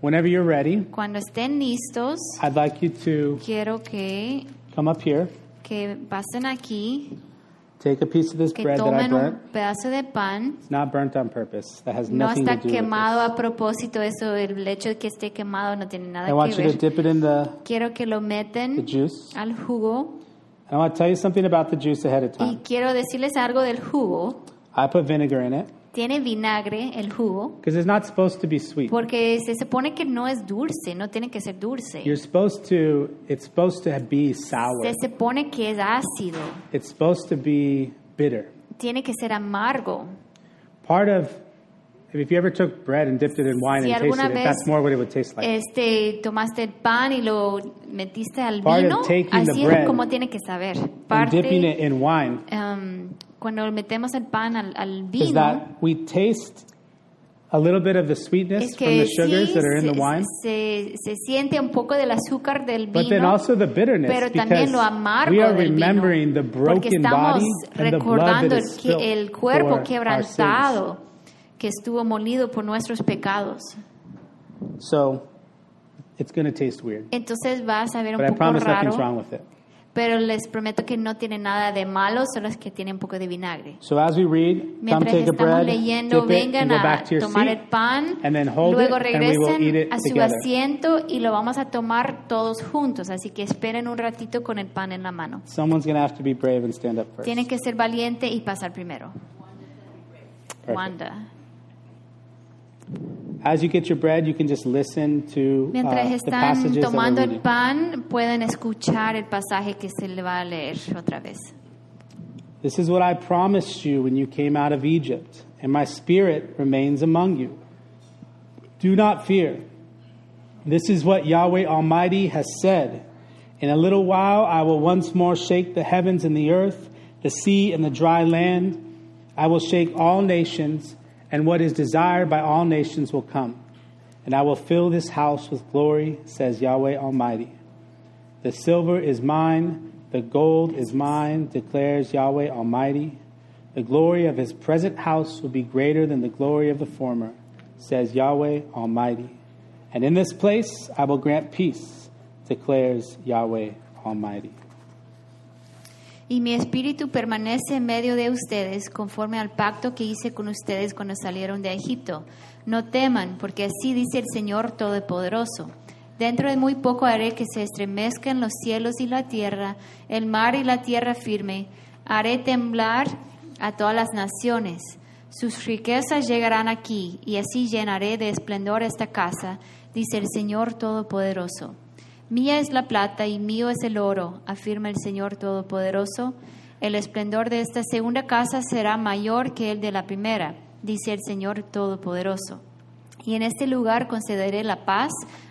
Whenever you're ready, Cuando estén listos, I'd like you to quiero que, come up here, que pasen aquí, take a piece of this que bread that I tomen un burnt. pedazo de pan. It's not burnt on purpose. That has No nothing to está do with this. quemado a propósito, eso, el hecho de que esté quemado no tiene nada I want que you to ver. dip it in the, Quiero que lo the meten juice. al jugo And I want to tell you something about the juice ahead of y time. quiero decirles algo del jugo. I put vinegar in it Tiene vinagre el jugo because it's not supposed to be sweet. porque se supone que no es dulce, no tiene que ser dulce. You're supposed to, it's supposed to be sour. Se supone que es ácido, It's supposed to be bitter. tiene que ser amargo. Part of, if you ever took bread and dipped it in wine Si and tasted alguna it, vez eh, that's more what it would taste like. Este, tomaste el pan y lo metiste al Part of vino, taking the así bread es como tiene que saber. and Parte, um, dipping it in wine em, cuando metemos el pan al, al is vino, that we taste a little bit of the sweetness Es from que the sí sugars that are in the wine, se, se- se siente un poco del azúcar del vino, but then also the bitterness pero because también lo amargo we are del vino, remembering the porque broken estamos body and the blood recordando that el, is que- spilt el cuerpo for our sins. quebrantado que estuvo molido por nuestros pecados. So it's going to taste weird, Entonces vas a ver un but I poco promise raro, nothing's wrong with it. pero les prometo que no tiene nada de malo, solo es que tiene un poco de vinagre. So as we read, come Mientras take a estamos bread, leyendo, dip it, and vengan go a back to your tomar el seat. pan, and then hold luego it, and we will eat regresen it a su together. asiento y lo vamos a tomar todos juntos. Así que esperen un ratito con el pan en la mano. Someone's going to have to be brave and stand up first. Tienen que ser valiente y pasar primero. Perfect. Wanda. As you get your bread, you can just listen to uh, Mientras the passages that we're están tomando el reading. pan, pueden escuchar el pasaje que se le va a leer otra vez. This is what I promised you when you came out of Egypt, and my spirit remains among you. Do not fear. This is what Yahweh Almighty has said. In a little while, I will once more shake the heavens and the earth, the sea and the dry land. I will shake all nations, and what is desired by all nations will come. And I will fill this house with glory, says Yahweh Almighty. The silver is mine, the gold is mine, declares Yahweh Almighty. The glory of his present house will be greater than the glory of the former, says Yahweh Almighty. And in this place I will grant peace, declares Yahweh Almighty. Y mi espíritu permanece en medio de ustedes, conforme al pacto que hice con ustedes cuando salieron de Egipto. No teman, porque así dice el Señor Todopoderoso. Dentro de muy poco haré que se estremezcan los cielos y la tierra, el mar y la tierra firme. Haré temblar a todas las naciones. Sus riquezas llegarán aquí, y así llenaré de esplendor esta casa, dice el Señor Todopoderoso. Mía es la plata y mío es el oro, afirma el Señor Todopoderoso. El esplendor de esta segunda casa será mayor que el de la primera, dice el Señor Todopoderoso. Y en este lugar concederé la paz,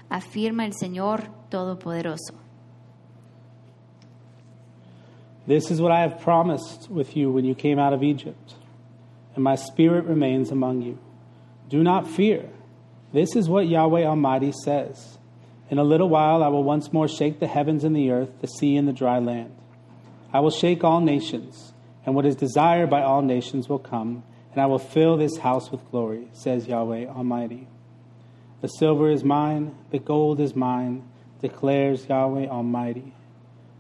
afirma el Señor Todopoderoso. This is what I have promised with you when you came out of Egypt, and my spirit remains among you. Do not fear. This is what Yahweh Almighty says. In a little while I will once more shake the heavens and the earth, the sea and the dry land. I will shake all nations, and what is desired by all nations will come, and I will fill this house with glory, says Yahweh Almighty. The silver is mine, the gold is mine, declares Yahweh Almighty.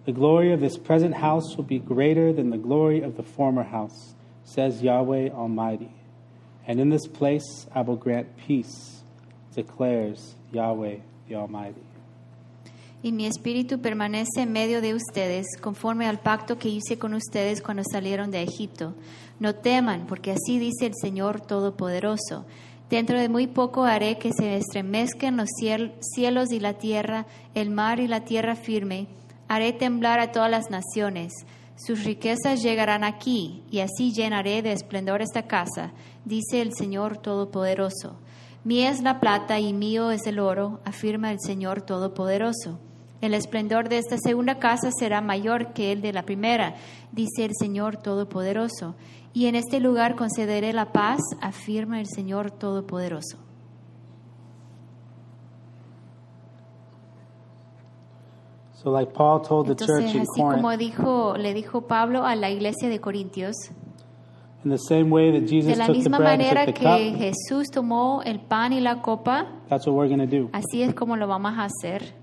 The glory of this present house will be greater than the glory of the former house, says Yahweh Almighty. And in this place I will grant peace, declares Yahweh the Almighty. Y mi espíritu permanece en medio de ustedes, conforme al pacto que hice con ustedes cuando salieron de Egipto. No teman, porque así dice el Señor Todopoderoso. Dentro de muy poco haré que se estremezcan los ciel- cielos y la tierra, el mar y la tierra firme. Haré temblar a todas las naciones. Sus riquezas llegarán aquí, y así llenaré de esplendor esta casa, dice el Señor Todopoderoso. Mía es la plata y mío es el oro, afirma el Señor Todopoderoso. El esplendor de esta segunda casa será mayor que el de la primera, dice el Señor Todopoderoso. Y en este lugar concederé la paz, afirma el Señor Todopoderoso. So, like Paul told the church Entonces, in así como Corinth, dijo, le dijo Pablo a la iglesia de Corintios, in the same way that de Jesus la took the misma bread manera and took the que cup, Jesús tomó el pan y la copa, that's what we're going to do. así es como lo vamos a hacer.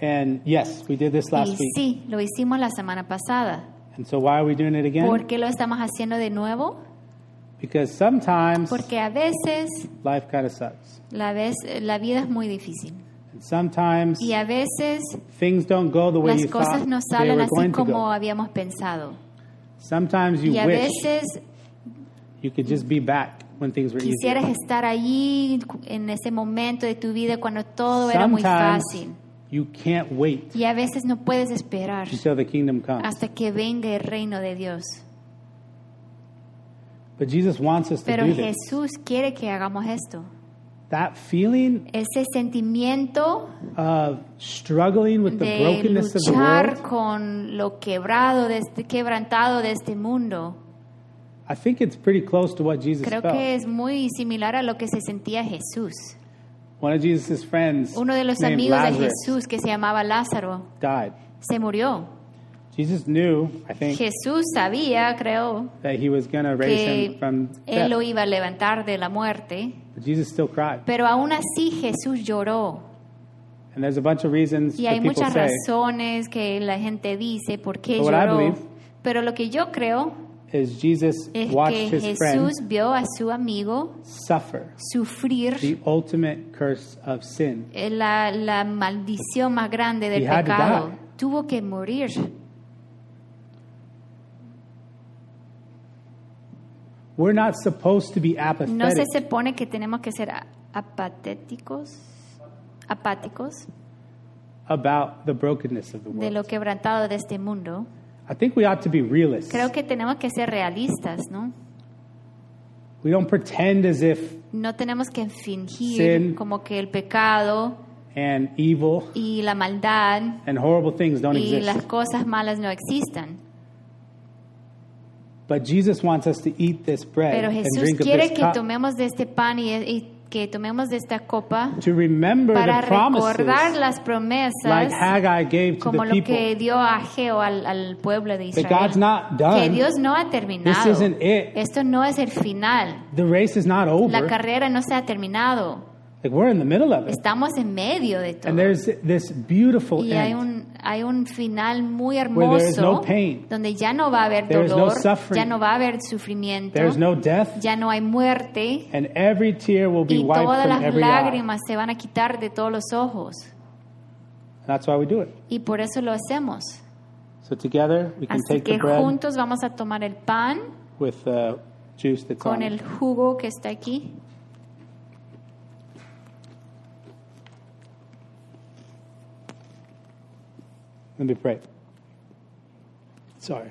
And yes, we did this last Y week. sí, lo hicimos la semana pasada. And so, why are we doing it ¿Por again? qué lo estamos haciendo de nuevo? Because sometimes Porque a veces life kind of sucks. la, vez, la vida es muy difícil. And sometimes Y a veces things don't go the way las you cosas thought no they salen were así going to como go. habíamos pensado. Sometimes you Y a wish veces You could just be back when things were quisieras easier. estar allí en ese momento de tu vida cuando todo era muy Sometimes fácil. you can't wait Y a veces no puedes esperar until the kingdom comes. hasta que venga el reino de Dios. But Jesus wants us to Pero do this. Jesús quiere que hagamos esto. That feeling Ese sentimiento of struggling with the de brokenness of the luchar world con lo quebrado, de este, quebrantado de este mundo. I think it's pretty close to what Jesus Creo felt. que es muy similar a lo que se sentía Jesús. One of Jesus' friends Uno de los named amigos de Lazarus Jesús que se llamaba Lázaro died. se murió. Jesus knew, I think, Jesús sabía, creo, that he was going to raise que him from él death. lo iba a levantar de la muerte, But Jesus still cried. pero aún así Jesús lloró. And there's a bunch of reasons Y that hay people muchas say. razones que la gente dice por qué But what I lloró. believe- pero lo que yo creo is Jesus es watched que his friend Jesús vio a su amigo suffer sufrir the ultimate curse of sin. eh, la, la maldición más grande del He had to pecado. die. Tuvo que morir. We're not supposed to be apathetic. No se supone que tenemos que ser a- apatéticos, apáticos about the brokenness of the de world. lo quebrantado de este mundo. I think we ought to be realists. Creo que tenemos que ser realistas, ¿no? we don't pretend as if No tenemos que fingir Sin. como que el pecado and evil y la maldad and horrible things don't y exist. las cosas malas no existan. But Jesus wants us to eat this bread Pero and Jesús drink of quiere this que cup tomemos de este pan y, y que tomemos de esta copa to remember para the promises recordar las like promesas Haggai gave to como the lo people. que dio Ageo al, al pueblo de that God's Israel. not Que done. Dios no ha terminado. This isn't it. Esto no es el final. The race is not over. La carrera no se ha terminado. like we're in the middle of it. Estamos en medio de todo. And there's this beautiful Y hay end. un, hay un final muy Where there is hermoso no pain. donde ya no va a haber There is no dolor, suffering. ya no va a haber sufrimiento, There's no death, ya no hay muerte and every tear will be y wiped todas from las every eye. lágrimas se van a quitar de todos los ojos. That's why we do it. Y por eso lo hacemos. So together we can Así take the que bread juntos vamos a tomar el pan with the juice that's con on el it. jugo que está aquí. Let me pray. Sorry.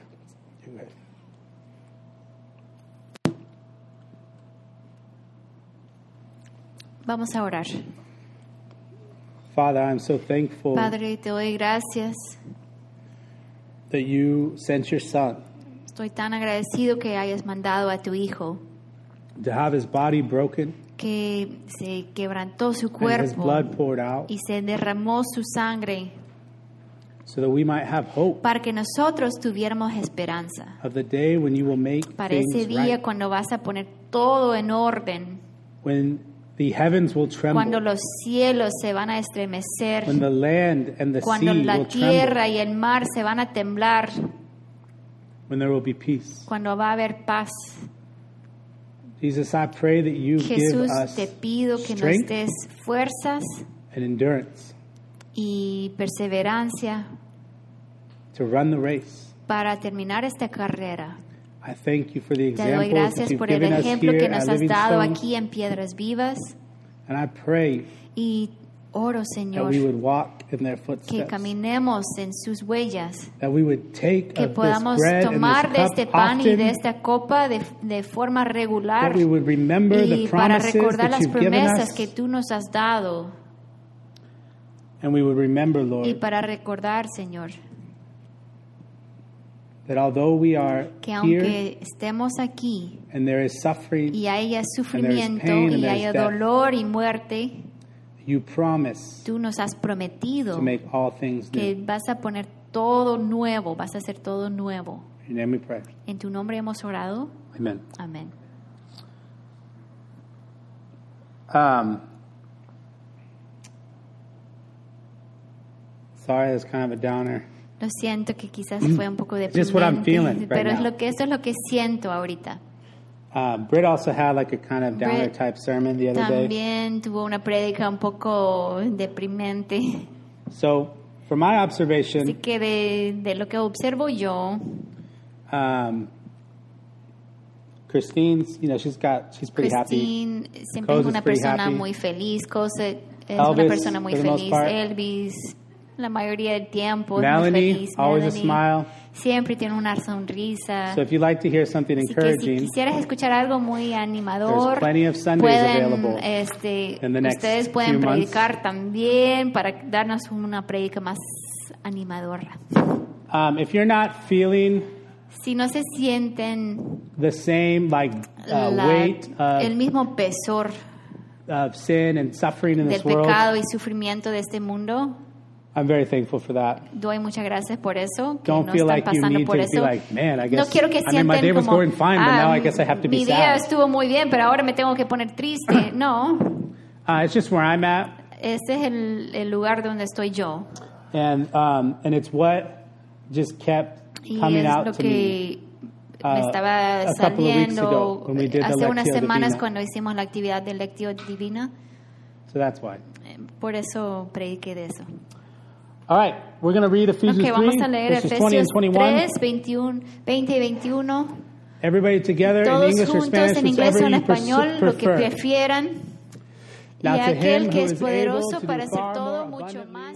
You're good. Vamos a orar. Father, I'm so thankful Padre, te doy gracias. that you sent your son Estoy tan agradecido que hayas mandado a tu hijo, to have his body broken que se quebrantó su and his cuerpo blood poured out y se derramó su sangre so that we might have hope para que nosotros tuviéramos esperanza. of the day when you will make Para ese things día right, cuando vas a poner todo en orden, when the heavens will cuando tremble, los cielos se van a estremecer, when the land and the sea cuando la will tremble, tierra y el mar se van a temblar, when there will be peace. cuando va a haber paz. Jesus, I pray that you give Jesús, us te pido que nos strength des fuerzas and endurance y perseverancia to run the race. para terminar esta carrera. I thank you for the Te doy example that gracias you've por el given us ejemplo que here at nos has dado Livingstone, aquí en Piedras Vivas and I pray y oro, that Señor, we would walk in their que footsteps, caminemos en sus huellas, that we would take que of this podamos bread and tomar de this este cup pan y de often, esta copa de, de forma regular that we would remember the y para promises that recordar las you've given promesas us, que tú nos has dado and we would remember, y Lord, para recordar, Señor, that although we are que here aunque estemos aquí and there is suffering, y haya sufrimiento pain and y there's haya death. dolor y muerte, you promise tú nos has prometido to make all things que new. vas a poner todo nuevo, vas a hacer todo nuevo. In your name we pray. En tu nombre hemos orado. Amen. Amén. Um, sorry, that's kind of a downer. Lo siento que quizás fue un poco deprimente, Just what I'm feeling right pero es now. lo que eso es lo que siento ahorita. Uh, Britt also had like a kind of downer Britt type sermon the other day. También tuvo una prédica un poco deprimente. So, from my Así observation, que de, de lo que observo yo, um, Christine's, you know, she's got, she's pretty happy. Christine eh, siempre Cos es is una pretty persona happy. muy feliz, Cos es una Elvis, persona muy for the most feliz, part. Elvis la mayoría del tiempo es muy Melanie, feliz, always a Melanie smile. siempre tiene una sonrisa. So, if you'd like to hear something Así que si encouraging, quisieras escuchar algo muy There's animador, plenty of Sundays pueden, available este, in the next ustedes few pueden months. predicar también para darnos una predica más animadora. um, if you're not feeling Si no se sienten the same like uh, la- weight el of, mismo pesor of sin and suffering in del this world. pecado y sufrimiento de este mundo. I'm very thankful for that. Doy muchas gracias por eso. Que Don't no feel están like you pasando need por to be eso. like, man, I no guess quiero que I mean sientan my day was como, going fine, but "Ah, now I guess I have to be mi día sad. estuvo muy bien, pero ahora me tengo que poner triste. No, Uh, it's just where I'm at. este es el, el lugar donde estoy yo. and um, and it's what just kept Y coming es out lo to me. que me uh, estaba a couple of weeks ago saliendo when we did the hace unas Lectio semanas Divina. cuando hicimos la actividad de Lectio Divina. So that's why. Eh, Por eso prediqué de eso. All right, we're going to read Ephesians Ok, vamos 3, a leer verses 20 Efesios and 21. 3, 21, 20 y 21. Everybody together in Todos English or juntos Spanish, en inglés o en whichever you pers- español, lo que prefer. prefieran. Y Now to aquel him que who es is able poderoso to do para hacer far todo more mucho más.